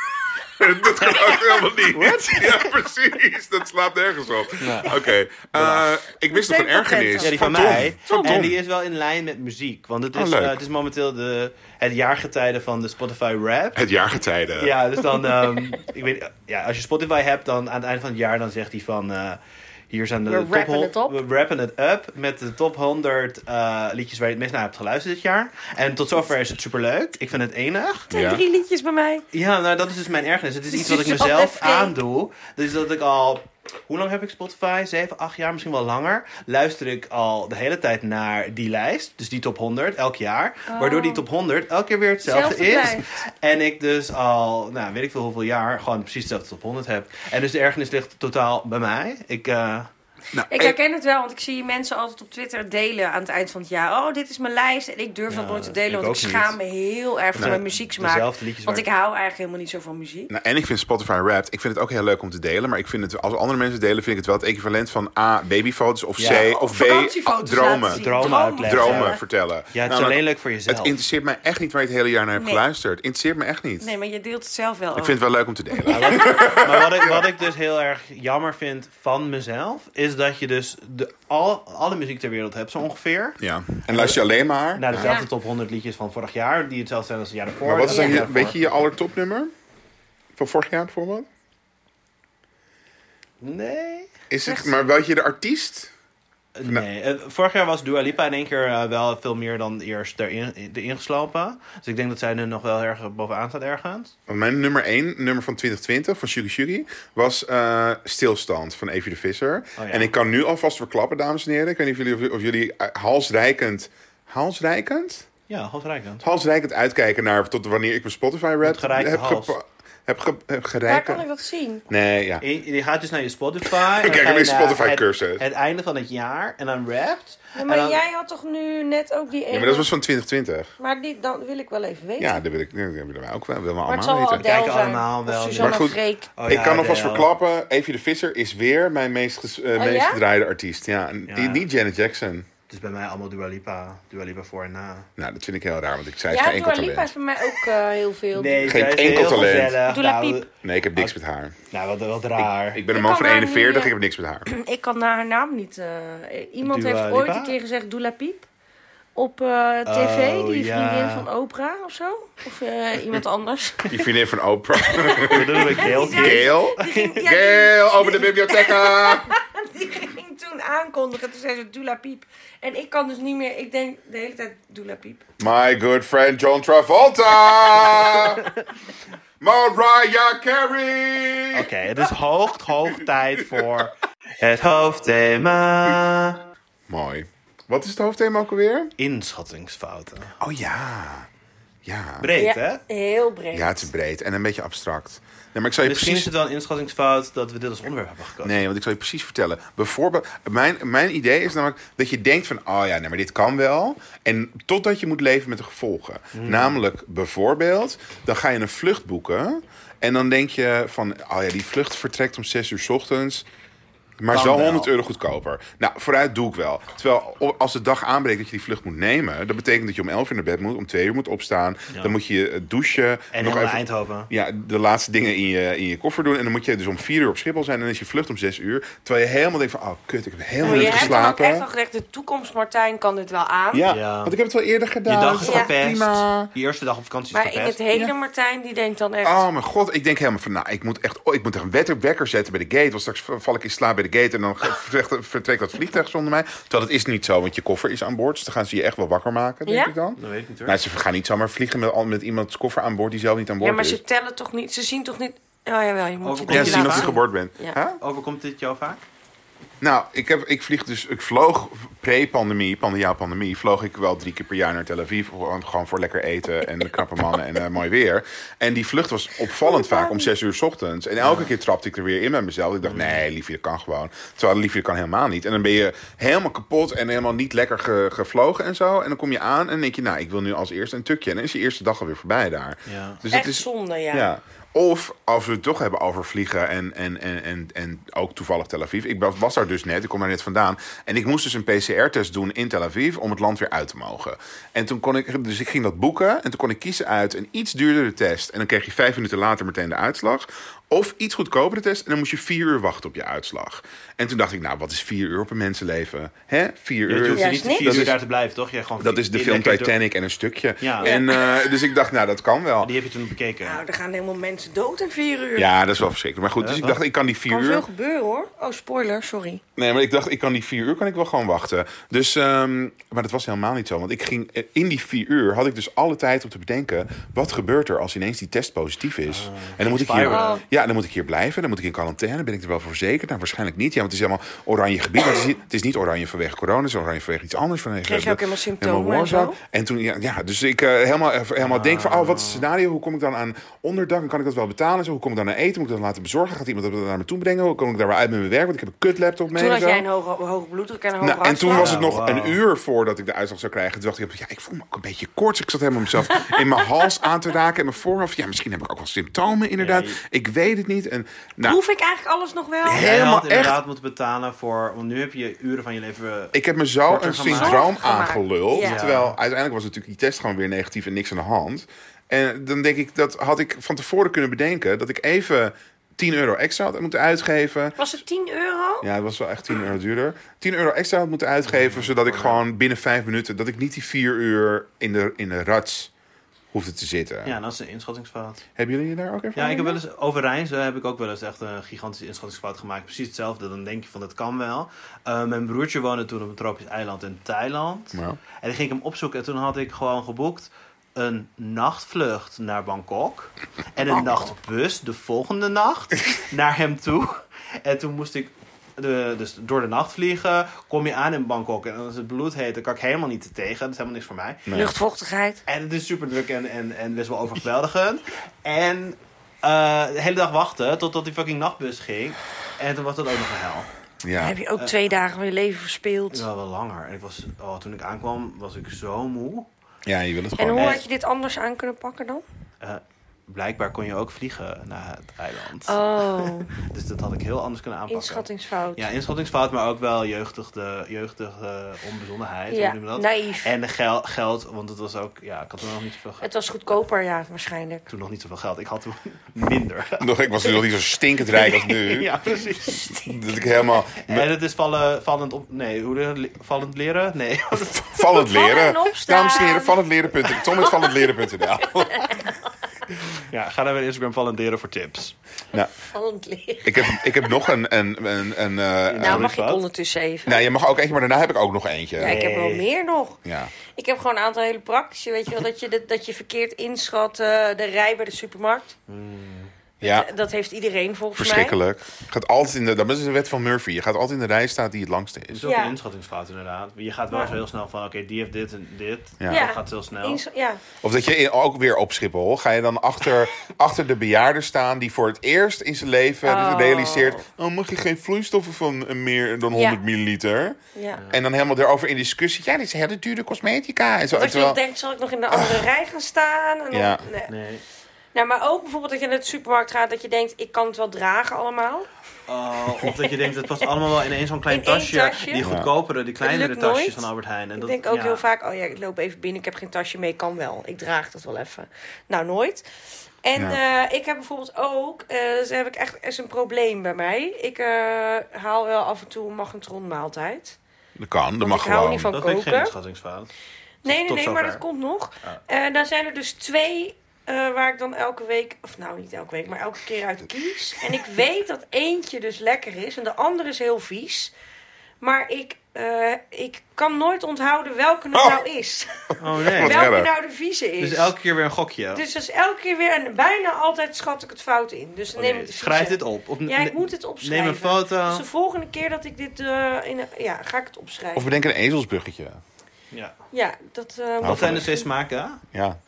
[SPEAKER 3] dat kan ook helemaal niet. Ja, precies. Dat slaat nergens op. Oké, eh, ik mis nog een ergernis.
[SPEAKER 2] Ja, die van,
[SPEAKER 3] Tom.
[SPEAKER 2] mij.
[SPEAKER 3] Van Tom.
[SPEAKER 2] En die is wel in lijn met muziek. Want het is,
[SPEAKER 3] Oh, leuk.
[SPEAKER 2] eh, het is momenteel de, het jaargetijde van de Spotify Rap.
[SPEAKER 3] Het jaargetijde.
[SPEAKER 2] Ja, dus dan, ehm, ik weet, ja, als je Spotify hebt, dan aan het eind van het jaar, dan zegt hij van, eh, hier zijn de
[SPEAKER 1] We
[SPEAKER 2] top
[SPEAKER 1] wrappen
[SPEAKER 2] hon-
[SPEAKER 1] het op.
[SPEAKER 2] We wrappen het up met de top 100 eh, liedjes waar je het meest naar hebt geluisterd dit jaar. En tot zover is het superleuk. Ik vind het enig.
[SPEAKER 1] Er zijn
[SPEAKER 3] Ja.
[SPEAKER 1] drie liedjes bij mij.
[SPEAKER 2] Ja, nou dat is dus mijn ergernis. Het is iets wat ik
[SPEAKER 1] is wel
[SPEAKER 2] mezelf
[SPEAKER 1] even.
[SPEAKER 2] aandoe. Dus dat ik al, hoe lang heb ik Spotify? 7, 8 jaar, misschien wel langer. Luister ik al de hele tijd naar die lijst. Dus die top 100 elk jaar. Waardoor die top 100 elke keer weer hetzelfde
[SPEAKER 1] Oh. Hetzelfde
[SPEAKER 2] is.
[SPEAKER 1] blijft.
[SPEAKER 2] En ik dus al, nou weet ik veel hoeveel jaar, gewoon precies dezelfde top 100 heb. En dus de ergernis ligt totaal bij mij. Ik, eh,
[SPEAKER 3] Nou,
[SPEAKER 1] Ik herken het wel, want ik zie mensen altijd op Twitter delen aan het eind van het jaar. Oh, dit is mijn lijst. En ik durf
[SPEAKER 2] Ja,
[SPEAKER 1] dat nooit te
[SPEAKER 2] ik
[SPEAKER 1] delen,
[SPEAKER 2] ook
[SPEAKER 1] want ik schaam me heel erg voor
[SPEAKER 2] Nee,
[SPEAKER 1] mijn muzieksmaak.
[SPEAKER 2] dezelfde liedjes
[SPEAKER 1] Want
[SPEAKER 2] waar
[SPEAKER 1] ik hou eigenlijk helemaal niet zo van muziek.
[SPEAKER 3] Nou, en ik vind Spotify Wrapped, ik vind het ook heel leuk om te delen. Maar ik vind het, als andere mensen delen, vind ik het wel het equivalent van A, babyfoto's. Of
[SPEAKER 2] Ja.
[SPEAKER 3] C, of B, ah, oh,
[SPEAKER 1] Vakantiefoto's laten zien.
[SPEAKER 3] dromen.
[SPEAKER 2] Dromen uitleggen.
[SPEAKER 1] vertellen.
[SPEAKER 3] Dromen vertellen.
[SPEAKER 2] ja, het is
[SPEAKER 3] Namelijk,
[SPEAKER 2] alleen leuk voor
[SPEAKER 3] Nou, Het
[SPEAKER 2] jezelf.
[SPEAKER 3] interesseert mij echt niet waar je het hele jaar naar hebt
[SPEAKER 1] Nee.
[SPEAKER 3] geluisterd. Interesseert me echt niet.
[SPEAKER 1] Nee, maar je deelt het zelf wel
[SPEAKER 3] Ik vind het wel leuk om te delen.
[SPEAKER 2] Maar wat ik, wat ik dus heel erg jammer vind van mezelf, is dat je dus de, al, alle muziek ter wereld hebt, zo ongeveer.
[SPEAKER 3] Ja. En luister je alleen maar.
[SPEAKER 2] Naar
[SPEAKER 3] Ja.
[SPEAKER 2] dezelfde
[SPEAKER 1] Ja.
[SPEAKER 2] top 100 liedjes van vorig jaar, die hetzelfde zijn als het jaar daarvoor.
[SPEAKER 3] Maar wat is
[SPEAKER 2] dat
[SPEAKER 3] dan
[SPEAKER 2] jaar
[SPEAKER 3] je,
[SPEAKER 2] daarvoor.
[SPEAKER 3] weet je je allertopnummer? Van vorig jaar bijvoorbeeld?
[SPEAKER 2] Nee.
[SPEAKER 3] Is het, maar weet je de artiest?
[SPEAKER 2] Nee, Eh, vorig jaar was Dua Lipa in één keer eh, wel veel meer dan eerst erin, eh, erin geslopen. Dus ik denk dat zij er nog wel erg bovenaan staat ergens.
[SPEAKER 3] Want mijn nummer 1, nummer van 2020, van Shuggy Shuggy, was eh, Stilstand van Evie de Visser.
[SPEAKER 2] Oh, ja.
[SPEAKER 3] En ik kan nu alvast verklappen, dames en heren. Ik weet niet of jullie, of jullie eh, halsrijkend... Halsrijkend?
[SPEAKER 2] Ja, halsrijkend.
[SPEAKER 3] Halsrijkend uitkijken naar tot wanneer ik mijn Spotify
[SPEAKER 2] gereikte
[SPEAKER 3] rap heb
[SPEAKER 2] hals.
[SPEAKER 3] gepa- heb, ge, heb
[SPEAKER 1] Waar
[SPEAKER 3] gerijpen.
[SPEAKER 1] kan ik dat zien?
[SPEAKER 3] Nee, ja.
[SPEAKER 2] Je, je gaat dus naar je Spotify. en dan
[SPEAKER 3] Kijk,
[SPEAKER 2] ga je
[SPEAKER 3] een
[SPEAKER 2] naar
[SPEAKER 3] Spotify-cursus.
[SPEAKER 2] Het, het einde van het jaar en dan rapt.
[SPEAKER 1] Ja, maar
[SPEAKER 2] En dan-
[SPEAKER 1] jij had toch nu net ook die ene...
[SPEAKER 3] Ja, maar dat was van 2020.
[SPEAKER 1] Maar die, dat wil ik wel even weten.
[SPEAKER 3] Ja, dat wil ik, dat willen wij ook wel. Dat willen we
[SPEAKER 1] maar het
[SPEAKER 3] allemaal
[SPEAKER 1] zal wel
[SPEAKER 3] weten.
[SPEAKER 1] Adele
[SPEAKER 2] Kijken
[SPEAKER 1] zijn.
[SPEAKER 2] allemaal wel.
[SPEAKER 1] Of Suzanne
[SPEAKER 3] Maar goed,
[SPEAKER 1] Freek.
[SPEAKER 2] Oh
[SPEAKER 3] ik
[SPEAKER 2] ja,
[SPEAKER 3] kan alvast
[SPEAKER 2] Adele.
[SPEAKER 3] verklappen, Evie de Visser is weer mijn meest, ges- eh, meest
[SPEAKER 1] Oh, ja?
[SPEAKER 3] gedraaide artiest. Ja, en
[SPEAKER 2] Ja.
[SPEAKER 3] die- Niet Janet Jackson.
[SPEAKER 2] Het is bij mij allemaal Dua Lipa. Dua Lipa voor en na.
[SPEAKER 3] Nou, dat vind ik heel raar, want ik zei
[SPEAKER 1] Ja,
[SPEAKER 3] geen enkel
[SPEAKER 1] Dua Lipa is
[SPEAKER 3] talent.
[SPEAKER 1] voor mij ook eh, heel veel.
[SPEAKER 3] Geen
[SPEAKER 2] zij is
[SPEAKER 3] enkel
[SPEAKER 2] heel
[SPEAKER 3] talent.
[SPEAKER 2] gezellig.
[SPEAKER 1] Dua
[SPEAKER 2] Nou,
[SPEAKER 1] Piep.
[SPEAKER 3] Nee, ik heb niks met haar.
[SPEAKER 2] Nou, wat, wat raar.
[SPEAKER 3] Ik ben een
[SPEAKER 1] Ah, Ik kan
[SPEAKER 3] man van
[SPEAKER 1] haar niet,
[SPEAKER 3] 41,
[SPEAKER 1] eh,
[SPEAKER 3] ik heb niks met haar.
[SPEAKER 1] Ik kan naar haar naam niet. eh, iemand
[SPEAKER 2] Dua
[SPEAKER 1] heeft ooit
[SPEAKER 2] Lipa?
[SPEAKER 1] een keer gezegd Dula Piep. Op eh, tv,
[SPEAKER 2] Oh,
[SPEAKER 1] die
[SPEAKER 2] ja.
[SPEAKER 1] vriendin van Oprah of zo. Of eh, iemand anders.
[SPEAKER 3] Die vriendin van Oprah.
[SPEAKER 2] Dat doen we heel
[SPEAKER 1] Die zei-
[SPEAKER 3] Gail?
[SPEAKER 1] Die ging, ja, die-
[SPEAKER 3] Gail, open de bibliotheca!
[SPEAKER 1] Die ging toen aankondigen. Toen zei ze Dula Piep. En ik kan dus niet meer. Ik denk de hele tijd Dula Piep.
[SPEAKER 3] My good friend John Travolta! Mariah Carey!
[SPEAKER 2] Oké, het is hoog, hoog tijd voor het hoofdthema.
[SPEAKER 3] Mooi. Wat is het hoofdthema ook alweer?
[SPEAKER 2] Inschattingsfouten.
[SPEAKER 3] Oh ja. Ja.
[SPEAKER 2] Breed, hè?
[SPEAKER 1] Ja, heel breed.
[SPEAKER 3] Ja, het is breed en een beetje abstract. Nee, maar ik zal je
[SPEAKER 2] Misschien is
[SPEAKER 3] precies...
[SPEAKER 2] het wel een inschattingsfout dat we dit als onderwerp hebben gekozen.
[SPEAKER 3] Nee, want ik zal je precies vertellen. Bijvoorbeeld, mijn, mijn idee is namelijk dat je denkt van... oh ja, nee, maar dit kan wel. En totdat je moet leven met de gevolgen.
[SPEAKER 2] Hmm.
[SPEAKER 3] Namelijk, bijvoorbeeld, dan ga je een vlucht boeken... en dan denk je van... oh ja, die vlucht vertrekt om 6 uur 's ochtends... Maar
[SPEAKER 2] Kan
[SPEAKER 3] zo
[SPEAKER 2] wel.
[SPEAKER 3] 100 euro goedkoper. Nou, vooruit doe ik wel. Terwijl o- als de dag aanbreekt dat je die vlucht moet nemen... dat betekent dat je om 11 uur naar bed moet, om 2 uur moet opstaan. Dan moet je eh, douchen.
[SPEAKER 2] En
[SPEAKER 3] nog
[SPEAKER 2] helemaal
[SPEAKER 3] even
[SPEAKER 2] Eindhoven.
[SPEAKER 3] ja, de laatste dingen in je, in je koffer doen. En dan moet je dus om vier uur op Schiphol zijn. En dan is je vlucht om zes uur. Terwijl je helemaal denkt van, oh kut, ik heb helemaal
[SPEAKER 1] Maar je
[SPEAKER 3] niet
[SPEAKER 1] hebt dan ook
[SPEAKER 3] geslapen.
[SPEAKER 1] echt al gezegd, de toekomst Martijn kan dit wel aan.
[SPEAKER 3] Ja,
[SPEAKER 2] Ja.
[SPEAKER 3] want ik heb het wel eerder
[SPEAKER 2] Je
[SPEAKER 3] gedaan.
[SPEAKER 2] dag is
[SPEAKER 1] Ja,
[SPEAKER 2] gepest.
[SPEAKER 3] prima.
[SPEAKER 2] Je eerste dag op vakantie is
[SPEAKER 1] maar in het
[SPEAKER 2] gepest.
[SPEAKER 1] hele Martijn, die denkt dan echt...
[SPEAKER 3] Oh mijn god, ik denk helemaal van, nou, ik moet echt, oh, ik moet echt een wetter wekker zetten bij de gate. Want straks val ik in slaap bij de gate en dan ge- vertrekt, vertrekt dat vliegtuig zonder mij. Terwijl dat is niet zo, want je koffer is aan boord. Dus dan gaan ze je echt wel wakker maken, denk
[SPEAKER 1] Ja?
[SPEAKER 3] ik dan.
[SPEAKER 2] Dat weet ik niet hoor.
[SPEAKER 3] Nou, ze gaan niet zomaar vliegen met, al- met iemands koffer aan boord die zelf niet aan boord
[SPEAKER 1] ja, maar
[SPEAKER 3] is.
[SPEAKER 1] ze tellen toch niet, ze zien toch niet... Oh jawel, je moet
[SPEAKER 2] Overkomt
[SPEAKER 1] je
[SPEAKER 3] Ja, ze zien of
[SPEAKER 1] laten
[SPEAKER 3] ze
[SPEAKER 2] Ja.
[SPEAKER 3] geboord bent.
[SPEAKER 1] Ja.
[SPEAKER 3] Huh?
[SPEAKER 2] Overkomt dit jou vaak?
[SPEAKER 3] Nou, ik, heb, ik vlieg dus, ik vloog pre-pandemie, pandemia pandemie, vloog ik wel drie keer per jaar naar Tel Aviv. Gewoon gewoon voor lekker eten en de knappe mannen en eh, mooi weer. En die vlucht was opvallend vaak om zes uur 's ochtends. En elke keer trapte ik er weer in bij mezelf. Ik dacht, nee, liefje, dat kan gewoon. Terwijl liefje, dat kan helemaal niet. En dan ben je helemaal kapot en helemaal niet lekker ge- gevlogen en zo. En dan kom je aan en denk je, nou, ik wil nu als eerste een tukje. En dan is je eerste dag alweer voorbij daar.
[SPEAKER 2] Ja.
[SPEAKER 3] Dus
[SPEAKER 1] Echt zonde, ja.
[SPEAKER 3] ja. Of als we het toch hebben over vliegen en, en, en, en, en ook toevallig Tel Aviv. Ik was- was daar dus net, ik kom daar net vandaan. En ik moest dus een PCR-test doen in Tel Aviv om het land weer uit te mogen. En toen kon ik, dus ik ging dat boeken en toen kon ik kiezen uit een iets duurdere test. En dan kreeg je vijf minuten later meteen de uitslag. Of iets goedkopere test en dan moest je vier uur wachten op je uitslag. En toen dacht ik, nou wat is vier uur op een mensenleven? Hè? Vier
[SPEAKER 2] Je
[SPEAKER 3] uur.
[SPEAKER 2] hoeft
[SPEAKER 1] Ja,
[SPEAKER 2] niet
[SPEAKER 1] niks.
[SPEAKER 2] vier
[SPEAKER 3] Dat
[SPEAKER 2] uur
[SPEAKER 3] is-
[SPEAKER 2] daar te blijven, toch? Jij gewoon
[SPEAKER 3] Dat is de
[SPEAKER 2] vier-
[SPEAKER 3] film
[SPEAKER 2] lekker door-
[SPEAKER 3] Titanic en een stukje.
[SPEAKER 2] Ja.
[SPEAKER 3] En, eh, dus ik dacht, nou dat kan wel.
[SPEAKER 2] Die heb je toen bekeken.
[SPEAKER 1] Nou, er gaan helemaal mensen dood in vier uur.
[SPEAKER 3] Ja, dat is wel verschrikkelijk. Maar goed, dus ik dacht, ik kan die vier
[SPEAKER 1] kan
[SPEAKER 3] uur.
[SPEAKER 1] veel gebeuren hoor. Oh, spoiler, sorry.
[SPEAKER 3] Nee, maar ik dacht, ik kan die vier uur kan ik wel gewoon wachten. Dus, ehm, maar dat was helemaal niet zo. Want ik ging eh, in die vier uur had ik dus alle tijd om te bedenken. Wat gebeurt er als ineens die test positief is?
[SPEAKER 1] Ah,
[SPEAKER 3] en dan moet ik hier.
[SPEAKER 2] spiral.
[SPEAKER 3] Ja, dan moet ik hier blijven. Dan moet ik in quarantaine. Ben ik er wel voor verzekerd? Nou, waarschijnlijk niet. Ja, want het is helemaal oranje gebied. Maar het, is niet, het is niet oranje vanwege corona. Het is oranje vanwege iets anders. Vanwege
[SPEAKER 1] Kreeg je
[SPEAKER 3] de-
[SPEAKER 1] ook helemaal symptomen en
[SPEAKER 3] warzone.
[SPEAKER 1] zo?
[SPEAKER 3] En toen, ja, ja dus ik eh, helemaal, eh, helemaal denk van, oh,
[SPEAKER 2] Ah.
[SPEAKER 3] wat is het scenario? Hoe kom ik dan aan onderdak? En kan ik dat wel betalen? Zo, hoe kom ik dan aan eten? Moet ik dat laten bezorgen? Gaat iemand dat naar me toe brengen? Hoe kom ik daar weer uit met mijn werk? Want ik heb een kut laptop mee.
[SPEAKER 1] Toen
[SPEAKER 3] en
[SPEAKER 1] had
[SPEAKER 3] zo.
[SPEAKER 1] jij een hoge, hoge bloeddruk en een hoge
[SPEAKER 3] Nou, en toen
[SPEAKER 1] hartslag.
[SPEAKER 3] was het
[SPEAKER 2] Ja,
[SPEAKER 3] nog
[SPEAKER 2] wauw.
[SPEAKER 3] een uur voordat ik de uitslag zou krijgen. Toen dacht ik, ja, ik voel me ook een beetje koorts. Ik zat helemaal mezelf in mijn hals aan te raken en mijn voorhoofd. Ja, misschien heb ik ook wel symptomen inderdaad.
[SPEAKER 2] Ja, je-
[SPEAKER 3] Ik weet het niet. En, nou,
[SPEAKER 1] Hoef ik eigenlijk alles nog wel?
[SPEAKER 3] Hè?
[SPEAKER 2] Jij
[SPEAKER 3] helemaal
[SPEAKER 2] had inderdaad
[SPEAKER 3] echt-
[SPEAKER 2] moeten betalen voor... Want nu heb je uren van je leven...
[SPEAKER 3] ik heb me zo
[SPEAKER 2] Korter
[SPEAKER 3] een
[SPEAKER 2] gemaakt.
[SPEAKER 3] syndroom
[SPEAKER 1] Zorg gemaakt.
[SPEAKER 3] aangeluld.
[SPEAKER 1] Ja.
[SPEAKER 3] Terwijl uiteindelijk was natuurlijk die test gewoon weer negatief en niks aan de hand. En dan denk ik, dat had ik van tevoren kunnen bedenken. Dat ik even 10 euro extra had moeten uitgeven.
[SPEAKER 1] Was het 10 euro?
[SPEAKER 3] Ja, het was wel echt 10 euro duurder. 10 euro extra had moeten uitgeven, zodat ik gewoon binnen 5 minuten, dat ik niet die 4 uur in de, in de rats hoefde te zitten.
[SPEAKER 2] Ja, dat is een inschattingsfout.
[SPEAKER 3] Hebben jullie daar ook even
[SPEAKER 2] Ja, ik heb wel eens over reizen heb ik ook wel eens echt een gigantische inschattingsfout gemaakt. Precies hetzelfde. Dan denk je van dat kan wel. Eh, mijn broertje woonde toen op een tropisch eiland in Thailand.
[SPEAKER 3] Ja.
[SPEAKER 2] En dan ging ik hem opzoeken en toen had ik gewoon geboekt een nachtvlucht naar Bangkok. En een nachtbus de volgende nacht naar hem toe. En toen moest ik de, dus door de nacht vliegen. Kom je aan in Bangkok en als het bloed heet, dan kan ik helemaal niet tegen. Dat is helemaal niks voor mij.
[SPEAKER 1] Luchtvochtigheid.
[SPEAKER 2] En het is super druk en, en, en best wel overweldigend. En Eh, de hele dag wachten totdat die fucking nachtbus ging. En toen was dat ook nog een hel.
[SPEAKER 3] Ja.
[SPEAKER 1] Heb je ook twee dagen van je leven verspeeld.
[SPEAKER 2] Eh. Ja, wel langer. En ik was, oh, toen ik aankwam was ik zo moe.
[SPEAKER 3] ja, je wil het
[SPEAKER 1] En
[SPEAKER 3] gewoon.
[SPEAKER 1] hoe
[SPEAKER 2] echt.
[SPEAKER 1] had je dit anders aan kunnen pakken dan?
[SPEAKER 2] Eh, blijkbaar kon je ook vliegen naar het eiland.
[SPEAKER 1] Oh,
[SPEAKER 2] Dus dat had ik heel anders kunnen aanpakken.
[SPEAKER 1] inschattingsfout.
[SPEAKER 2] Ja, inschattingsfout, maar ook wel jeugdige, jeugdige onbezonnenheid.
[SPEAKER 1] Ja,
[SPEAKER 2] hoe noem je dat?
[SPEAKER 1] naïef.
[SPEAKER 2] En de gel- geld, want het was ook, ja, ik had toen nog niet zoveel,
[SPEAKER 1] Het was goedkoper, ja, waarschijnlijk.
[SPEAKER 2] toen nog niet zoveel geld. Ik had toen minder.
[SPEAKER 3] Nog, ik was natuurlijk niet zo stinkend rijk als nu.
[SPEAKER 2] ja, precies.
[SPEAKER 3] Dat ik helemaal
[SPEAKER 2] En het is vallen, vallend op, nee, hoe de- le- vallend leren? Nee.
[SPEAKER 3] vallend leren.
[SPEAKER 1] en opstaan.
[SPEAKER 3] Dames en heren, valendleren.nl. Tom met valendleren.nl.
[SPEAKER 2] ja, ga naar mijn Instagram vallend leren voor tips.
[SPEAKER 3] Nou,
[SPEAKER 1] Vallend licht.
[SPEAKER 3] ik heb, ik heb nog een... een, een, een eh, eh,
[SPEAKER 1] Nou,
[SPEAKER 2] sorry,
[SPEAKER 1] mag ik
[SPEAKER 2] wat?
[SPEAKER 1] ondertussen even.
[SPEAKER 3] nou, je mag ook eentje, maar daarna heb ik ook nog eentje.
[SPEAKER 1] Ja, ik heb wel
[SPEAKER 2] Nee.
[SPEAKER 1] meer nog.
[SPEAKER 3] Ja.
[SPEAKER 1] Ik heb gewoon een aantal hele praktische. Weet je wel, dat je, de- dat je verkeerd inschat eh, de rij bij de supermarkt.
[SPEAKER 3] Ja,
[SPEAKER 1] Eh, Dat heeft iedereen volgens mij.
[SPEAKER 3] verschrikkelijk. Gaat altijd in de, dat is de wet van Murphy. Je gaat altijd in de rij staan die het langste is.
[SPEAKER 2] Het is ook
[SPEAKER 1] Ja.
[SPEAKER 2] een inschattingsfout inderdaad. Je gaat wel
[SPEAKER 1] Ja.
[SPEAKER 2] zo heel snel van, oké, die heeft dit en dit.
[SPEAKER 3] Ja.
[SPEAKER 2] Dat gaat heel snel.
[SPEAKER 1] Ins- ja.
[SPEAKER 3] Of dat je in- ook weer op Schiphol, ga je dan achter, achter de bejaarden staan die voor het eerst in zijn leven
[SPEAKER 1] Oh.
[SPEAKER 3] realiseert... Oh, mag je geen vloeistoffen van eh, meer dan 100
[SPEAKER 1] Ja.
[SPEAKER 3] milliliter?
[SPEAKER 1] Ja.
[SPEAKER 3] En dan helemaal daarover in discussie. Ja, dit is hele dure cosmetica. En zo.
[SPEAKER 1] Dat je
[SPEAKER 3] Terwijl-
[SPEAKER 1] nog denkt, zal ik nog in de andere rij gaan staan? En dan-
[SPEAKER 3] Ja.
[SPEAKER 1] nee.
[SPEAKER 2] Nee.
[SPEAKER 1] Nou, maar ook bijvoorbeeld dat je naar de supermarkt gaat, dat je denkt, ik kan het wel dragen allemaal.
[SPEAKER 2] Oh, of dat je denkt, het past allemaal wel in één zo'n klein
[SPEAKER 1] In één
[SPEAKER 2] tasje,
[SPEAKER 1] tasje.
[SPEAKER 2] Die
[SPEAKER 1] Ja.
[SPEAKER 2] goedkopere, die kleinere
[SPEAKER 1] lukt
[SPEAKER 2] tasjes
[SPEAKER 1] nooit.
[SPEAKER 2] van Albert Heijn. En
[SPEAKER 1] Ik
[SPEAKER 2] dat,
[SPEAKER 1] denk ook
[SPEAKER 2] ja.
[SPEAKER 1] heel vaak, oh ja, ik loop even binnen, ik heb geen tasje mee, kan wel. Ik draag dat wel even. Nou, nooit. En eh, ik heb bijvoorbeeld ook, eh dus heb ik echt is een probleem bij mij. Ik eh, haal wel af en toe een magnetron maaltijd.
[SPEAKER 3] Dat kan, dat
[SPEAKER 1] Want
[SPEAKER 3] mag
[SPEAKER 1] ik hou
[SPEAKER 3] gewoon.
[SPEAKER 1] niet van
[SPEAKER 2] Dat vind ik
[SPEAKER 1] koken.
[SPEAKER 2] geen inschattingsfout.
[SPEAKER 1] Nee, nee,
[SPEAKER 2] Tot
[SPEAKER 1] nee, maar dat
[SPEAKER 2] zover.
[SPEAKER 1] komt nog.
[SPEAKER 3] Ah.
[SPEAKER 2] Ja.
[SPEAKER 1] Eh daar zijn er dus twee eh, waar ik dan elke week, of nou niet elke week, maar elke keer uit kies. En ik weet dat eentje dus lekker is en de andere is heel vies. Maar ik, eh, ik kan nooit onthouden welke het
[SPEAKER 3] Oh.
[SPEAKER 1] nou is.
[SPEAKER 2] Oh nee.
[SPEAKER 3] Wat
[SPEAKER 1] welke
[SPEAKER 3] erg.
[SPEAKER 1] nou de vieze is.
[SPEAKER 2] Dus elke keer weer een gokje.
[SPEAKER 1] Dus dat is elke keer weer, en bijna altijd schat ik het fout in. Dus dan
[SPEAKER 2] Oh,
[SPEAKER 1] neem
[SPEAKER 2] nee.
[SPEAKER 1] ik de vieze.
[SPEAKER 2] Schrijf dit op. Of
[SPEAKER 1] Ja,
[SPEAKER 2] ne-
[SPEAKER 1] ik moet het opschrijven.
[SPEAKER 2] Neem een foto.
[SPEAKER 1] Dus de volgende keer dat ik dit, eh, in, ja, ga ik het
[SPEAKER 3] Of
[SPEAKER 1] opschrijven.
[SPEAKER 3] bedenk een ezelsbruggetje.
[SPEAKER 2] Ja.
[SPEAKER 1] Ja, dat eh, moet
[SPEAKER 2] Wat zijn de twee smaken?
[SPEAKER 3] Ja.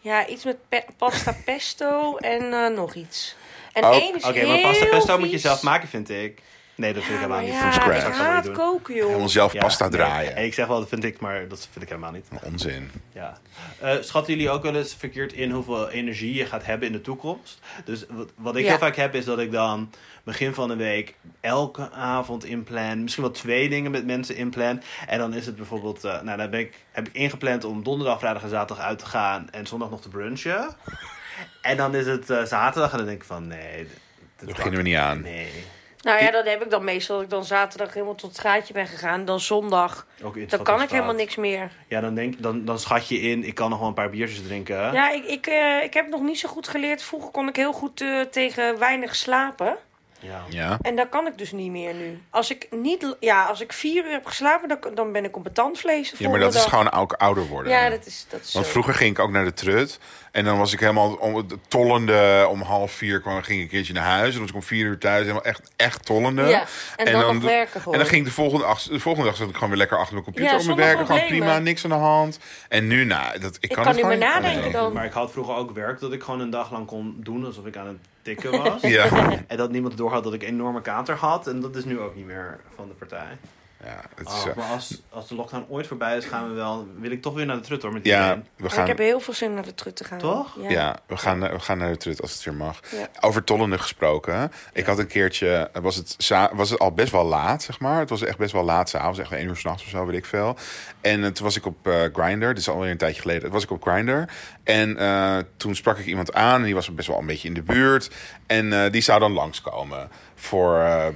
[SPEAKER 1] Ja, iets met pe- pasta pesto en eh, nog iets. En
[SPEAKER 3] Ook-
[SPEAKER 1] één is
[SPEAKER 2] Oké, maar pasta
[SPEAKER 1] heel
[SPEAKER 2] pesto moet je
[SPEAKER 1] vies.
[SPEAKER 2] zelf maken, vind ik. Nee, dat
[SPEAKER 1] Ja,
[SPEAKER 2] vind ik helemaal
[SPEAKER 1] maar
[SPEAKER 2] niet.
[SPEAKER 1] ja,
[SPEAKER 3] From scratch.
[SPEAKER 1] Ik
[SPEAKER 2] Dat zou ik
[SPEAKER 1] haat
[SPEAKER 2] niet
[SPEAKER 1] koken, joh.
[SPEAKER 3] Helemaal zelf
[SPEAKER 2] Ja,
[SPEAKER 3] pasta
[SPEAKER 2] nee.
[SPEAKER 3] draaien.
[SPEAKER 2] Ik zeg wel, dat vind ik, maar dat vind ik helemaal niet.
[SPEAKER 3] Onzin.
[SPEAKER 2] Ja. Eh, schatten jullie ook wel eens verkeerd in hoeveel energie je gaat hebben in de toekomst? Dus wat, wat ik
[SPEAKER 1] Ja.
[SPEAKER 2] heel vaak heb is dat ik dan begin van de week elke avond inplan. Misschien wel twee dingen met mensen inplan. En dan is het bijvoorbeeld, eh, nou dan ben ik, heb ik ingepland om donderdag, vrijdag en zaterdag uit te gaan en zondag nog te brunchen. En dan is het eh, zaterdag en dan denk ik van nee. dit- dit
[SPEAKER 3] Daar
[SPEAKER 2] kan
[SPEAKER 3] beginnen we
[SPEAKER 2] ik-
[SPEAKER 3] niet aan.
[SPEAKER 2] Nee.
[SPEAKER 1] Nou ja, dat heb ik dan meestal. Dat ik dan zaterdag helemaal tot het gaatje ben gegaan. Dan zondag.
[SPEAKER 2] Ook
[SPEAKER 1] Dan kan ik helemaal niks meer.
[SPEAKER 2] Ja, dan, denk, dan, dan schat je in, ik kan nog wel een paar biertjes drinken.
[SPEAKER 1] Ja, ik, ik, eh, ik heb nog niet zo goed geleerd. Vroeger kon ik heel goed eh, tegen weinig slapen.
[SPEAKER 2] Ja.
[SPEAKER 3] Ja.
[SPEAKER 1] En dat kan ik dus niet meer nu. Als ik, niet, ja, als ik vier uur heb geslapen, dan, dan ben ik op betantvlees.
[SPEAKER 3] ja, maar dat is gewoon ook ouder worden.
[SPEAKER 1] Ja, dat is, dat is
[SPEAKER 3] Want
[SPEAKER 1] zo.
[SPEAKER 3] vroeger ging ik ook naar de trut. En dan was ik helemaal om, tollende. Om half vier kwam, ging ik een keertje naar huis. En dan was ik om vier uur thuis. Helemaal echt, echt tollende.
[SPEAKER 1] Ja, en dan nog werken
[SPEAKER 3] En
[SPEAKER 1] gewoon.
[SPEAKER 3] dan ging ik de volgende, ach- de volgende dag zat ik gewoon weer lekker achter mijn computer
[SPEAKER 1] Ja,
[SPEAKER 3] op mijn
[SPEAKER 1] zonder
[SPEAKER 3] werken. Gewoon
[SPEAKER 1] problemen.
[SPEAKER 3] prima, niks aan de hand. En nu, nou, dat, ik,
[SPEAKER 1] Ik
[SPEAKER 3] kan,
[SPEAKER 1] kan
[SPEAKER 3] het
[SPEAKER 1] niet
[SPEAKER 3] gewoon
[SPEAKER 1] meer nadenken
[SPEAKER 3] nee.
[SPEAKER 1] dan.
[SPEAKER 2] Maar ik had vroeger ook werk dat ik gewoon een dag lang kon doen alsof ik aan het tikken was.
[SPEAKER 3] Ja,
[SPEAKER 2] En dat niemand doorhad dat ik enorme kater had. En dat is nu ook niet meer van de partij.
[SPEAKER 3] ja, het is,
[SPEAKER 2] Ah,
[SPEAKER 3] eh,
[SPEAKER 2] maar als, als de lockdown ooit voorbij is, gaan we wel, wil ik toch weer naar de trut hoor. Met
[SPEAKER 3] ja,
[SPEAKER 2] iedereen.
[SPEAKER 3] we
[SPEAKER 1] Maar
[SPEAKER 3] gaan...
[SPEAKER 1] Ik heb heel veel zin om naar de trut te gaan.
[SPEAKER 2] Toch?
[SPEAKER 1] Ja.
[SPEAKER 3] Ja, we, gaan, we gaan naar de trut als het weer mag.
[SPEAKER 1] Ja.
[SPEAKER 3] Over tollende gesproken. Ik had een keertje, was het, za- was het al best wel laat, zeg maar. Het was echt best wel laat s'avonds, echt één uur s'nachts of zo, weet ik veel. En eh, toen was ik op eh Grindr, dit is alweer een tijdje geleden, toen was ik op Grindr. En eh, toen sprak ik iemand aan en die was best wel een beetje in de buurt. En eh, die zou dan langskomen voor eh,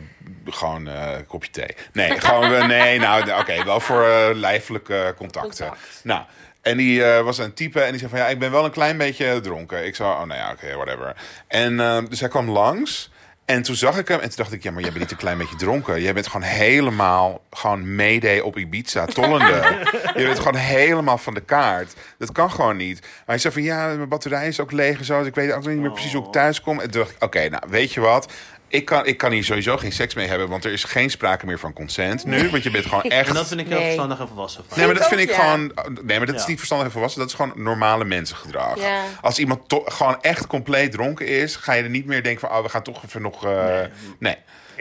[SPEAKER 3] gewoon eh, een kopje thee. Nee, gewoon, eh, nee, nou, oké, wel voor eh, lijfelijke contacten.
[SPEAKER 1] Contact.
[SPEAKER 3] Nou, en die eh, was een type en die zei van ja, ik ben wel een klein beetje dronken. Ik zei, oh nou ja, oké, whatever. En eh, dus hij kwam langs en toen zag ik hem en toen dacht ik, ja, maar jij bent niet een klein beetje dronken. Jij bent gewoon helemaal gewoon meedee op Ibiza, tollende. je bent gewoon helemaal van de kaart. Dat kan gewoon niet. Maar hij zei van
[SPEAKER 2] Oh.
[SPEAKER 3] ja, mijn batterij is ook leeg en zo. Dus ik weet ook niet meer precies hoe ik thuis kom. En toen dacht ik, oké, nou weet je wat? Ik kan, ik kan hier sowieso geen seks mee hebben, want er is geen sprake meer van consent nu. Want je bent gewoon echt.
[SPEAKER 2] En dat vind ik heel
[SPEAKER 1] Nee.
[SPEAKER 2] verstandig en volwassen. van.
[SPEAKER 3] Nee, maar dat
[SPEAKER 1] ook,
[SPEAKER 3] vind ik
[SPEAKER 1] ja.
[SPEAKER 3] gewoon. oh, Nee, maar dat is
[SPEAKER 2] Ja.
[SPEAKER 3] niet verstandig en volwassen. Dat is gewoon normale mensengedrag.
[SPEAKER 1] Ja.
[SPEAKER 3] Als iemand to- gewoon echt compleet dronken is, ga je er niet meer denken van, oh, we gaan toch even nog. eh, nee.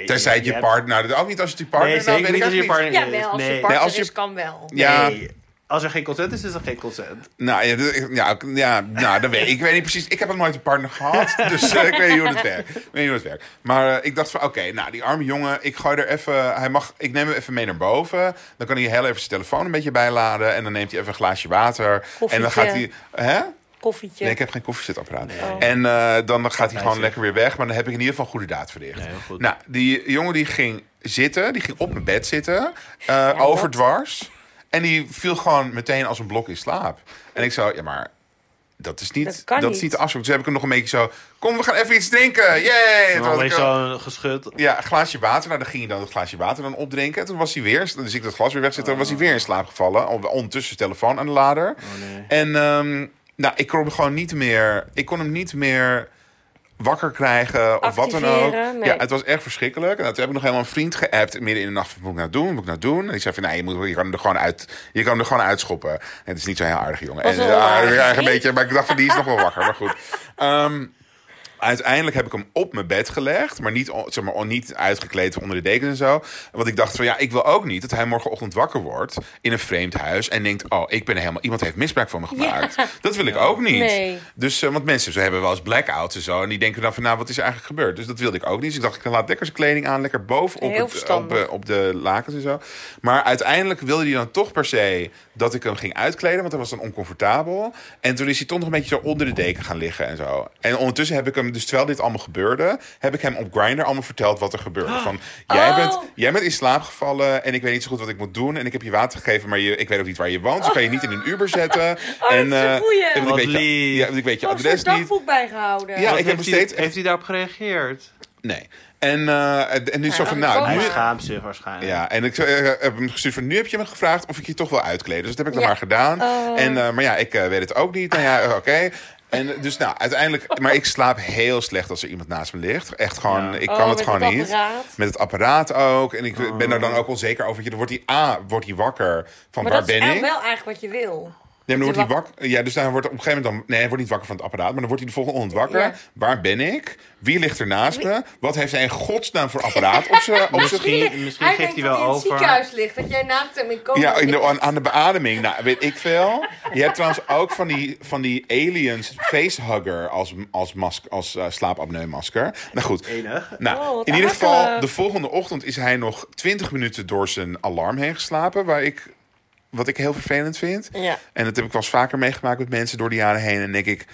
[SPEAKER 3] Tenzij
[SPEAKER 2] je-
[SPEAKER 3] je,
[SPEAKER 2] je hebt-
[SPEAKER 3] partner. Nou, dat ook niet als het je partner.
[SPEAKER 2] Nee,
[SPEAKER 3] nou,
[SPEAKER 2] zeker
[SPEAKER 3] weet
[SPEAKER 2] niet
[SPEAKER 3] ik
[SPEAKER 2] als je
[SPEAKER 3] eigenlijk
[SPEAKER 2] partner
[SPEAKER 4] Ja,
[SPEAKER 2] is.
[SPEAKER 4] wel, als je
[SPEAKER 2] Nee.
[SPEAKER 4] partner
[SPEAKER 3] Nee, als je-
[SPEAKER 4] is, kan wel.
[SPEAKER 3] niet. Ja,
[SPEAKER 2] Nee. Als er geen consent is, is er geen consent.
[SPEAKER 3] nou, ja, d- ja, ook- ja, nou, dat weet ik. Ik weet niet precies. Ik heb nog nooit een partner gehad. Dus eh, ik weet niet hoe het werkt. Ik weet niet hoe het werkt. Maar eh, ik dacht van, oké, nou, die arme jongen. Ik gooi er even... Hij mag... Ik neem hem even mee naar boven. Dan kan hij heel even zijn telefoon een beetje bijladen. En dan neemt hij even een glaasje water. En dan gaat hij...
[SPEAKER 1] Koffietje.
[SPEAKER 3] Hè?
[SPEAKER 1] Koffietje.
[SPEAKER 3] Nee, ik heb geen koffiezetapparaat.
[SPEAKER 1] Oh.
[SPEAKER 3] En eh, dan gaat hij gewoon lekker weer weg. Maar dan heb ik in ieder geval een goede daad verricht.
[SPEAKER 2] Nee, heel goed.
[SPEAKER 3] Nou, die jongen die ging zitten. Die ging op mijn bed zitten. eh, overdwars. En die viel gewoon meteen als een blok in slaap. En ik zo, ja maar... Dat is niet,
[SPEAKER 1] Dat
[SPEAKER 3] dat
[SPEAKER 1] kan
[SPEAKER 3] is
[SPEAKER 1] niet.
[SPEAKER 3] niet de afspraak. Dus heb ik hem nog een beetje zo... Kom, we gaan even iets drinken. Yay! Toen
[SPEAKER 2] Dan
[SPEAKER 3] had
[SPEAKER 2] ben
[SPEAKER 3] ik,
[SPEAKER 2] je
[SPEAKER 3] eh,
[SPEAKER 2] zo'n Oh, geschud.
[SPEAKER 3] ja, een glaasje water. Nou, dan ging hij dan het glaasje water dan opdrinken. En toen was hij weer... Dus ik dat glas weer wegzetten. Dan was hij weer in slaap gevallen. On- Ondertussen zijn telefoon aan de lader.
[SPEAKER 2] Oh, nee.
[SPEAKER 3] En ehm, nou, ik kon hem gewoon niet meer... Ik kon hem niet meer wakker krijgen of wat dan ook.
[SPEAKER 1] Activeren, nee.
[SPEAKER 3] Ja, het was echt verschrikkelijk. En toen heb ik nog helemaal een vriend geappt midden in de nacht. Wat moet ik nou doen? Wat moet ik nou doen? En ik zei van, nee, je, moet, je, kan, hem er gewoon uit, je kan hem er gewoon uitschoppen. En het is niet zo heel aardig, jongen.
[SPEAKER 1] Was
[SPEAKER 3] en,
[SPEAKER 1] wel een
[SPEAKER 3] ja,
[SPEAKER 1] aardige
[SPEAKER 3] ja, een
[SPEAKER 1] vriend.
[SPEAKER 3] beetje, maar ik dacht van, die is nog wel wakker. Maar goed. Ehm, Uiteindelijk heb ik hem op mijn bed gelegd, maar niet, o- zeg maar, niet uitgekleed onder de dekens en zo. Want ik dacht van ja, ik wil ook niet dat hij morgenochtend wakker wordt in een vreemd huis en denkt: Oh, ik ben helemaal, iemand heeft misbruik van me gemaakt. Dat wil ik ook niet.
[SPEAKER 1] Nee.
[SPEAKER 3] Dus, eh, want mensen ze hebben wel eens blackouts en zo. En die denken dan van nou, wat is er eigenlijk gebeurd? Dus dat wilde ik ook niet. Dus ik dacht, ik laat lekker zijn kleding aan, lekker boven op,
[SPEAKER 1] Heel
[SPEAKER 3] het, op,
[SPEAKER 1] verstandig.
[SPEAKER 3] eh, op de lakens en zo. Maar uiteindelijk wilde hij dan toch per se dat ik hem ging uitkleden, want hij was dan oncomfortabel. En toen is hij toch nog een beetje zo onder de deken gaan liggen en zo. En ondertussen heb ik hem, dus terwijl dit allemaal gebeurde, heb ik hem op Grindr allemaal verteld wat er gebeurde. Van, jij,
[SPEAKER 1] Oh.
[SPEAKER 3] bent, jij bent in slaap gevallen en ik weet niet zo goed wat ik moet doen. En ik heb je water gegeven, maar je, ik weet ook niet waar je woont. Dus kan je niet in een Uber zetten.
[SPEAKER 1] Oh, is
[SPEAKER 3] en,
[SPEAKER 1] een
[SPEAKER 3] eh,
[SPEAKER 1] goeie.
[SPEAKER 3] en want ik,
[SPEAKER 2] Wat
[SPEAKER 3] weet je,
[SPEAKER 2] lief.
[SPEAKER 3] ja, want ik weet je
[SPEAKER 1] Oh, ze heeft
[SPEAKER 3] adres niet.
[SPEAKER 1] dagboek bijgehouden.
[SPEAKER 3] Ja,
[SPEAKER 2] Wat
[SPEAKER 3] ik heb nog
[SPEAKER 2] heeft,
[SPEAKER 3] steeds
[SPEAKER 2] hij, heeft hij daarop gereageerd?
[SPEAKER 3] Nee. En, eh, en dus zo van,
[SPEAKER 4] dan
[SPEAKER 3] nou,
[SPEAKER 4] komen
[SPEAKER 2] Hij
[SPEAKER 3] nu,
[SPEAKER 4] we.
[SPEAKER 2] schaamt zich waarschijnlijk.
[SPEAKER 3] ja, en ik eh, heb hem gestuurd van nu heb je me gevraagd of ik je toch wil uitkleden. Dus dat heb ik dan
[SPEAKER 4] Ja.
[SPEAKER 3] maar gedaan.
[SPEAKER 1] Oh.
[SPEAKER 3] En, eh, maar ja, ik eh, weet het ook niet. Nou ja, eh, oké. En eh, dus nou, uiteindelijk... Maar ik slaap heel slecht als er iemand naast me ligt. Echt gewoon,
[SPEAKER 2] Ja.
[SPEAKER 3] ik
[SPEAKER 1] Oh,
[SPEAKER 3] kan het
[SPEAKER 1] met
[SPEAKER 3] gewoon
[SPEAKER 1] het
[SPEAKER 3] niet.
[SPEAKER 1] apparaat.
[SPEAKER 3] Met het apparaat ook. En ik ben er dan ook onzeker over. Ja, Dan wordt hij A, wordt hij wakker van
[SPEAKER 1] Maar
[SPEAKER 3] waar
[SPEAKER 1] dat is
[SPEAKER 3] ben ik?
[SPEAKER 1] echt wel eigenlijk wat je wil.
[SPEAKER 3] Nee, maar dan
[SPEAKER 1] Te
[SPEAKER 3] wordt hij wakker. Ja, dus dan wordt op een gegeven moment dan. Nee, hij wordt niet wakker van het apparaat, maar dan wordt hij de volgende ochtend wakker.
[SPEAKER 1] Ja.
[SPEAKER 3] Waar ben ik? Wie ligt er naast me? Wat heeft hij in godsnaam voor apparaat op zijn op zijn-
[SPEAKER 2] Misschien, misschien
[SPEAKER 4] hij
[SPEAKER 2] geeft hij
[SPEAKER 4] denkt dat
[SPEAKER 2] wel
[SPEAKER 4] hij in het
[SPEAKER 2] over.
[SPEAKER 4] ziekenhuis ligt, dat jij naakt hem in komen
[SPEAKER 3] Ja, in
[SPEAKER 4] ligt.
[SPEAKER 3] de, aan, aan de beademing. Nou, weet ik veel. Je hebt trouwens ook van die, van die aliens facehugger als, als, mask, als eh, slaapapneumasker. Nou goed.
[SPEAKER 2] Enig.
[SPEAKER 3] Nou,
[SPEAKER 1] Oh, wat
[SPEAKER 3] in ieder
[SPEAKER 1] akelig.
[SPEAKER 3] geval, de volgende ochtend is hij nog 20 minuten door zijn alarm heen geslapen. Waar ik, wat ik heel vervelend vind.
[SPEAKER 1] Ja.
[SPEAKER 3] En dat heb ik wel eens vaker meegemaakt met mensen door de jaren heen. En dan denk ik,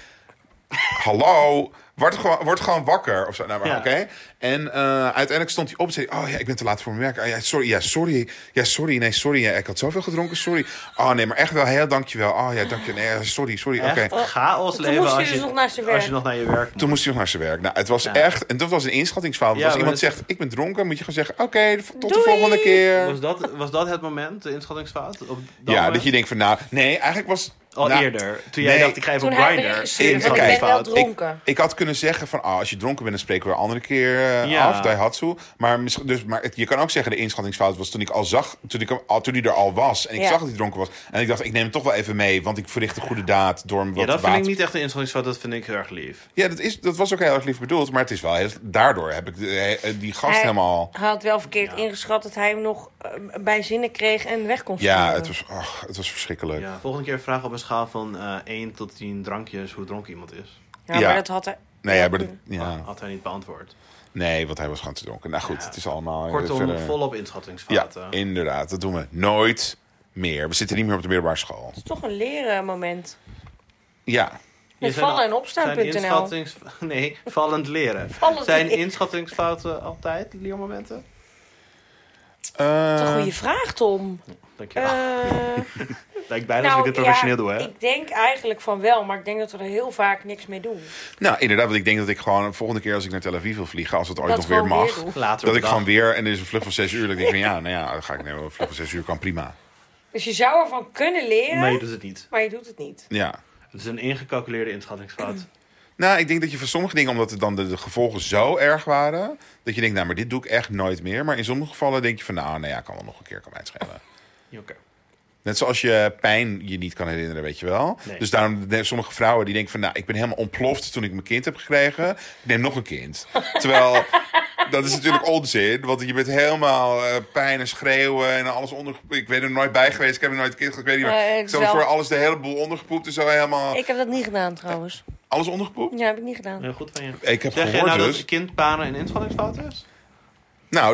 [SPEAKER 3] hallo, word gewoon, word gewoon wakker. Of zo. Nou, maar
[SPEAKER 2] Ja.
[SPEAKER 3] oké. En eh, uiteindelijk stond hij op en zei... hij, Oh ja, ik ben te laat voor mijn werk. Oh, ja, sorry, ja, sorry. Ja, sorry, nee, sorry. Ja, ik had zoveel gedronken, sorry. Oh nee, maar echt wel heel dankjewel. Oh ja, dankjewel. Nee, ja, sorry, sorry. Oké.
[SPEAKER 2] Echt chaos
[SPEAKER 1] Toen
[SPEAKER 2] leven
[SPEAKER 1] moest hij
[SPEAKER 2] als je,
[SPEAKER 1] dus nog naar zijn
[SPEAKER 2] als
[SPEAKER 1] werk.
[SPEAKER 2] je nog naar je werk moet.
[SPEAKER 3] Toen moest hij nog naar zijn werk. Nou, het was
[SPEAKER 2] Ja.
[SPEAKER 3] echt... En dat was een inschattingsfout. Want
[SPEAKER 2] Ja,
[SPEAKER 3] als
[SPEAKER 2] maar
[SPEAKER 3] iemand
[SPEAKER 2] dat-
[SPEAKER 3] zegt, ik ben dronken... moet je gewoon zeggen, oké, tot de
[SPEAKER 1] Doei.
[SPEAKER 3] volgende keer.
[SPEAKER 2] Was dat, was dat het moment, de inschattingsfout? Op
[SPEAKER 3] Eh. ja,
[SPEAKER 2] moment?
[SPEAKER 3] dat je denkt van, nou... Nee, eigenlijk was...
[SPEAKER 2] Al
[SPEAKER 3] nou,
[SPEAKER 2] eerder, toen jij
[SPEAKER 3] nee.
[SPEAKER 2] dacht ik ga even
[SPEAKER 1] Toen
[SPEAKER 2] op
[SPEAKER 1] hij
[SPEAKER 2] Grindr.
[SPEAKER 1] regisseerde,
[SPEAKER 3] want ik ben
[SPEAKER 1] wel
[SPEAKER 2] Inschattingsfout.
[SPEAKER 1] dronken.
[SPEAKER 3] Ik, ik had kunnen zeggen van, ah, als je dronken bent, dan spreken we een andere keer eh,
[SPEAKER 2] Ja.
[SPEAKER 3] af, Daihatsu. Maar, misschien- dus, maar het- je kan ook zeggen, de inschattingsfout was toen ik al zag, toen, ik hem, al, toen hij er al was. En ik
[SPEAKER 1] Ja.
[SPEAKER 3] zag dat hij dronken was. En ik dacht, ik neem hem toch wel even mee, want ik verricht een goede daad door hem wat
[SPEAKER 2] Ja, dat
[SPEAKER 3] te
[SPEAKER 2] vind ik
[SPEAKER 3] baat-
[SPEAKER 2] niet echt een inschattingsfout, dat vind ik heel erg lief.
[SPEAKER 3] Ja, dat, is, dat was ook heel erg lief bedoeld, maar het is wel, heel- daardoor heb ik de- eh, die gast
[SPEAKER 1] Hij-
[SPEAKER 3] helemaal...
[SPEAKER 1] Hij had wel verkeerd ingeschat dat hij hem nog eh, bij zinnen kreeg en weg kon
[SPEAKER 3] Ja,
[SPEAKER 1] sturen.
[SPEAKER 3] het was, ach, het was verschrikkelijk.
[SPEAKER 2] Ja, volgende keer vragen op een schaal van eh 1 tot 10 drankjes hoe dronken iemand is.
[SPEAKER 1] Ja, maar
[SPEAKER 3] ja.
[SPEAKER 1] dat had hij...
[SPEAKER 3] Nee, ja, maar dat-
[SPEAKER 1] Oh.
[SPEAKER 3] ja.
[SPEAKER 2] Had hij niet beantwoord.
[SPEAKER 3] nee, want hij was gewoon te dronken. Nou goed,
[SPEAKER 2] Ja.
[SPEAKER 3] het is allemaal... eh,
[SPEAKER 2] Kortom,
[SPEAKER 3] verder-
[SPEAKER 2] volop
[SPEAKER 3] Ja,
[SPEAKER 2] inschattingsfouten.
[SPEAKER 3] inderdaad, dat doen we nooit meer. We zitten niet meer op de middelbare school.
[SPEAKER 1] Het is toch een leren moment.
[SPEAKER 3] Ja.
[SPEAKER 2] Je
[SPEAKER 1] Met
[SPEAKER 2] zei
[SPEAKER 1] vallen
[SPEAKER 2] al-
[SPEAKER 1] en
[SPEAKER 2] zijn
[SPEAKER 1] opstaan.nl.
[SPEAKER 2] inschattings... Nee, vallend leren.
[SPEAKER 1] Vallend
[SPEAKER 2] zijn
[SPEAKER 1] leren.
[SPEAKER 2] inschattingsfouten altijd leermomenten?
[SPEAKER 1] Dat is een
[SPEAKER 3] Eh,
[SPEAKER 1] goede vraag, Tom.
[SPEAKER 2] Dank je.
[SPEAKER 1] Eh
[SPEAKER 2] Ah, lijkt bijna
[SPEAKER 1] nou,
[SPEAKER 2] alsof ik dit professioneel doe, hè?
[SPEAKER 1] Ik denk eigenlijk van wel, maar ik denk dat we er heel vaak niks mee doen.
[SPEAKER 3] Nou, inderdaad, want ik denk dat ik gewoon de volgende keer als ik naar Tel Aviv wil vliegen, als het ooit
[SPEAKER 1] Dat
[SPEAKER 3] nog weer
[SPEAKER 1] gewoon
[SPEAKER 3] mag,
[SPEAKER 1] weer doen.
[SPEAKER 2] Later
[SPEAKER 3] dat
[SPEAKER 2] op
[SPEAKER 3] ik
[SPEAKER 2] de
[SPEAKER 3] gewoon
[SPEAKER 2] dag.
[SPEAKER 3] weer en er is een vlucht van 6 uur. Dat ik denk van ja, nou ja, dan ga ik nemen. Een vlucht van 6 uur kan prima.
[SPEAKER 1] Dus je zou ervan kunnen leren,
[SPEAKER 2] Nee, dat is het niet.
[SPEAKER 1] maar je doet het niet.
[SPEAKER 3] Ja.
[SPEAKER 2] Het is een ingecalculeerde inschattingsfout.
[SPEAKER 3] Nou, ik denk dat je voor sommige dingen, omdat het dan de, de gevolgen zo erg waren, dat je denkt, nou, maar dit doe ik echt nooit meer. Maar in sommige gevallen denk je van, nou, nou ja, kan wel nog een keer, kan mij het schelen.
[SPEAKER 2] Ja, Oké.
[SPEAKER 3] Net zoals je pijn je niet kan herinneren, weet je wel.
[SPEAKER 2] Nee.
[SPEAKER 3] Dus daarom de- sommige vrouwen die denken van... nou, ik ben helemaal ontploft toen ik mijn kind heb gekregen. Ik neem nog een kind. Terwijl, dat is natuurlijk onzin. Want je bent helemaal eh, pijn en schreeuwen en alles onder... Ik ben er nooit bij geweest, ik heb er nooit een kind gehad. Ik weet niet
[SPEAKER 1] Nee,
[SPEAKER 3] meer.
[SPEAKER 1] het
[SPEAKER 3] Ik
[SPEAKER 1] is
[SPEAKER 3] zal
[SPEAKER 1] Eh, wel-
[SPEAKER 3] voor alles de hele boel ondergepoept en zo helemaal...
[SPEAKER 1] Ik heb dat niet gedaan trouwens.
[SPEAKER 3] Alles ondergepoept?
[SPEAKER 1] Ja, heb ik niet gedaan.
[SPEAKER 2] Heel goed van je.
[SPEAKER 3] Ik heb
[SPEAKER 2] Zeg jij
[SPEAKER 3] gehoord
[SPEAKER 2] nou
[SPEAKER 3] dus.
[SPEAKER 2] dat kindbanen een inspanningsfout is?
[SPEAKER 3] Nou,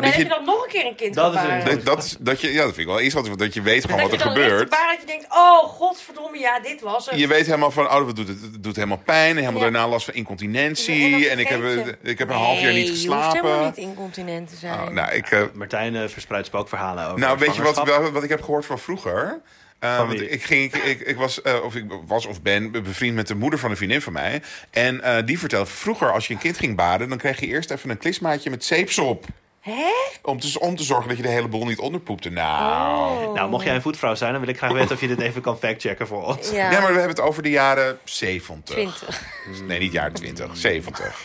[SPEAKER 1] Nee,
[SPEAKER 3] dat
[SPEAKER 1] dat je dan
[SPEAKER 3] je...
[SPEAKER 1] nog een keer een kind
[SPEAKER 2] Dat
[SPEAKER 1] kan
[SPEAKER 2] is
[SPEAKER 1] baren.
[SPEAKER 2] een-
[SPEAKER 3] Dat, dat, is- dat je, ja, dat vind ik wel iets wat, dat je weet gewoon wat
[SPEAKER 1] je
[SPEAKER 3] er
[SPEAKER 1] dan echt
[SPEAKER 3] gebeurt.
[SPEAKER 1] baart dat je denkt, oh godverdomme, ja, dit was het.
[SPEAKER 3] Je weet helemaal van, oh, dat doet, het het doet helemaal pijn. En helemaal
[SPEAKER 1] Ja.
[SPEAKER 3] daarna last van
[SPEAKER 1] En dan
[SPEAKER 3] incontinentie. En ik heb, eh,
[SPEAKER 1] vergeet je.
[SPEAKER 3] ik heb een half jaar niet
[SPEAKER 1] Nee, je hoeft
[SPEAKER 3] geslapen.
[SPEAKER 1] helemaal niet incontinent te zijn.
[SPEAKER 3] Oh, nou, ik, eh,
[SPEAKER 2] Martijn eh, verspreidt spookverhalen over
[SPEAKER 3] nou, weet je wat,
[SPEAKER 2] zwangerschap.
[SPEAKER 3] wel- wat ik heb gehoord van vroeger? Eh,
[SPEAKER 2] Van
[SPEAKER 3] want
[SPEAKER 2] wie?
[SPEAKER 3] ik, ging, ik, ik, ik was, eh, of ik was of ben bevriend met de moeder van een vriendin van mij. En eh, die vertelde, vroeger als je een kind ging baden... dan kreeg je eerst even een klismaatje met zeepsop.
[SPEAKER 1] Hè?
[SPEAKER 3] Om te, om te zorgen dat je de hele boel niet onderpoepte. Nou...
[SPEAKER 1] Oh,
[SPEAKER 2] Nou, mocht jij een voetvrouw zijn, dan wil ik graag weten of je dit even kan factchecken voor ons.
[SPEAKER 1] Ja,
[SPEAKER 3] Ja, maar we hebben het over de jaren 70.
[SPEAKER 1] 20.
[SPEAKER 3] Nee, niet jaren 20, 70.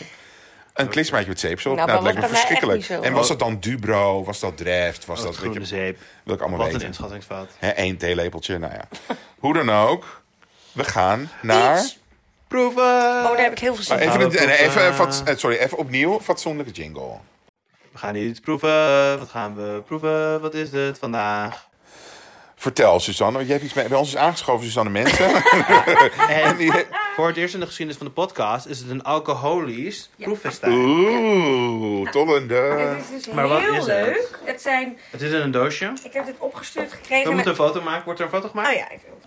[SPEAKER 3] Een klismaatje met zeepsop.
[SPEAKER 1] Nou,
[SPEAKER 3] Nou, dat
[SPEAKER 1] maar
[SPEAKER 3] lijkt me
[SPEAKER 1] dat kan mij echt
[SPEAKER 3] verschrikkelijk.
[SPEAKER 1] niet zo.
[SPEAKER 3] En was dat dan Dubro? Was dat Dreft? Was
[SPEAKER 2] Dat
[SPEAKER 3] dat,
[SPEAKER 2] Oh,
[SPEAKER 3] weet
[SPEAKER 2] groene
[SPEAKER 3] je,
[SPEAKER 2] zeep.
[SPEAKER 3] wil ik allemaal
[SPEAKER 2] Wat een
[SPEAKER 3] weten.
[SPEAKER 2] inschattingsfout.
[SPEAKER 3] Hè, één theelepeltje, nou ja. Hoe dan ook, we gaan naar...
[SPEAKER 1] Iets.
[SPEAKER 2] Proeven!
[SPEAKER 1] Oh, daar heb ik heel veel
[SPEAKER 3] Maar
[SPEAKER 1] zin in.
[SPEAKER 2] Gaan
[SPEAKER 3] even,
[SPEAKER 2] we
[SPEAKER 3] een- nee, even,
[SPEAKER 2] proeven?
[SPEAKER 3] fats- eh, sorry, even opnieuw, fatsoenlijke jingle.
[SPEAKER 2] We gaan iets proeven. Wat gaan we proeven? Wat is het vandaag?
[SPEAKER 3] Vertel, Suzanne, want jij hebt iets mee- bij ons is aangeschoven, Suzanne Mensen.
[SPEAKER 2] En
[SPEAKER 3] Die-
[SPEAKER 2] voor het eerst in de geschiedenis van de podcast is het een alcoholisch proeffestijn.
[SPEAKER 3] Oeh, tollende.
[SPEAKER 1] Dit is dus
[SPEAKER 2] Maar wat
[SPEAKER 1] heel
[SPEAKER 2] is het?
[SPEAKER 1] leuk. Het? zijn,
[SPEAKER 2] Het is in een doosje.
[SPEAKER 1] ik heb dit opgestuurd
[SPEAKER 2] We
[SPEAKER 1] gekregen.
[SPEAKER 2] moeten
[SPEAKER 1] Met,
[SPEAKER 2] een foto maken. Wordt er een foto gemaakt?
[SPEAKER 1] oh ja, ik wil.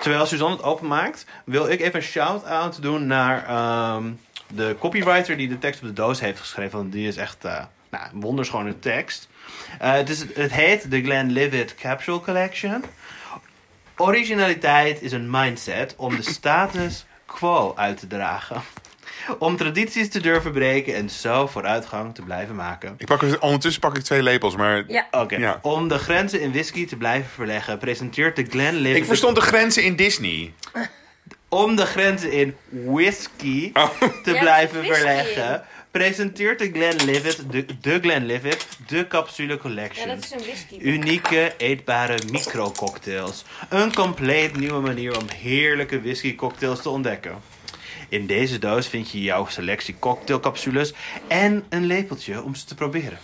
[SPEAKER 2] Terwijl Suzanne het openmaakt, wil ik even een shout-out doen naar ehm, de copywriter die de tekst op de doos heeft geschreven. Want die is echt eh, nou, een wonderschone tekst. Eh, het, is, het heet de Glenlivet Capsule Collection. Originaliteit is een mindset om de status quo uit te dragen. Om tradities te durven breken en zo vooruitgang te blijven maken.
[SPEAKER 3] Ik pak, er- ondertussen pak ik twee lepels, maar
[SPEAKER 1] Ja,
[SPEAKER 2] Oké,
[SPEAKER 3] Ja.
[SPEAKER 2] om de grenzen in whisky te blijven verleggen, presenteert de Glenlivet...
[SPEAKER 3] ik verstond de grenzen in Disney.
[SPEAKER 2] om de grenzen in whisky te
[SPEAKER 4] Ja,
[SPEAKER 2] blijven
[SPEAKER 4] whisky.
[SPEAKER 2] verleggen, presenteert de Glenlivet, de, de Glenlivet, de Capsule
[SPEAKER 4] Ja,
[SPEAKER 2] Collection.
[SPEAKER 4] dat is een whisky.
[SPEAKER 2] Unieke eetbare micrococktails. Een compleet nieuwe manier om heerlijke whiskycocktails te ontdekken. In deze doos vind je jouw selectie cocktailcapsules en een lepeltje om ze te proberen.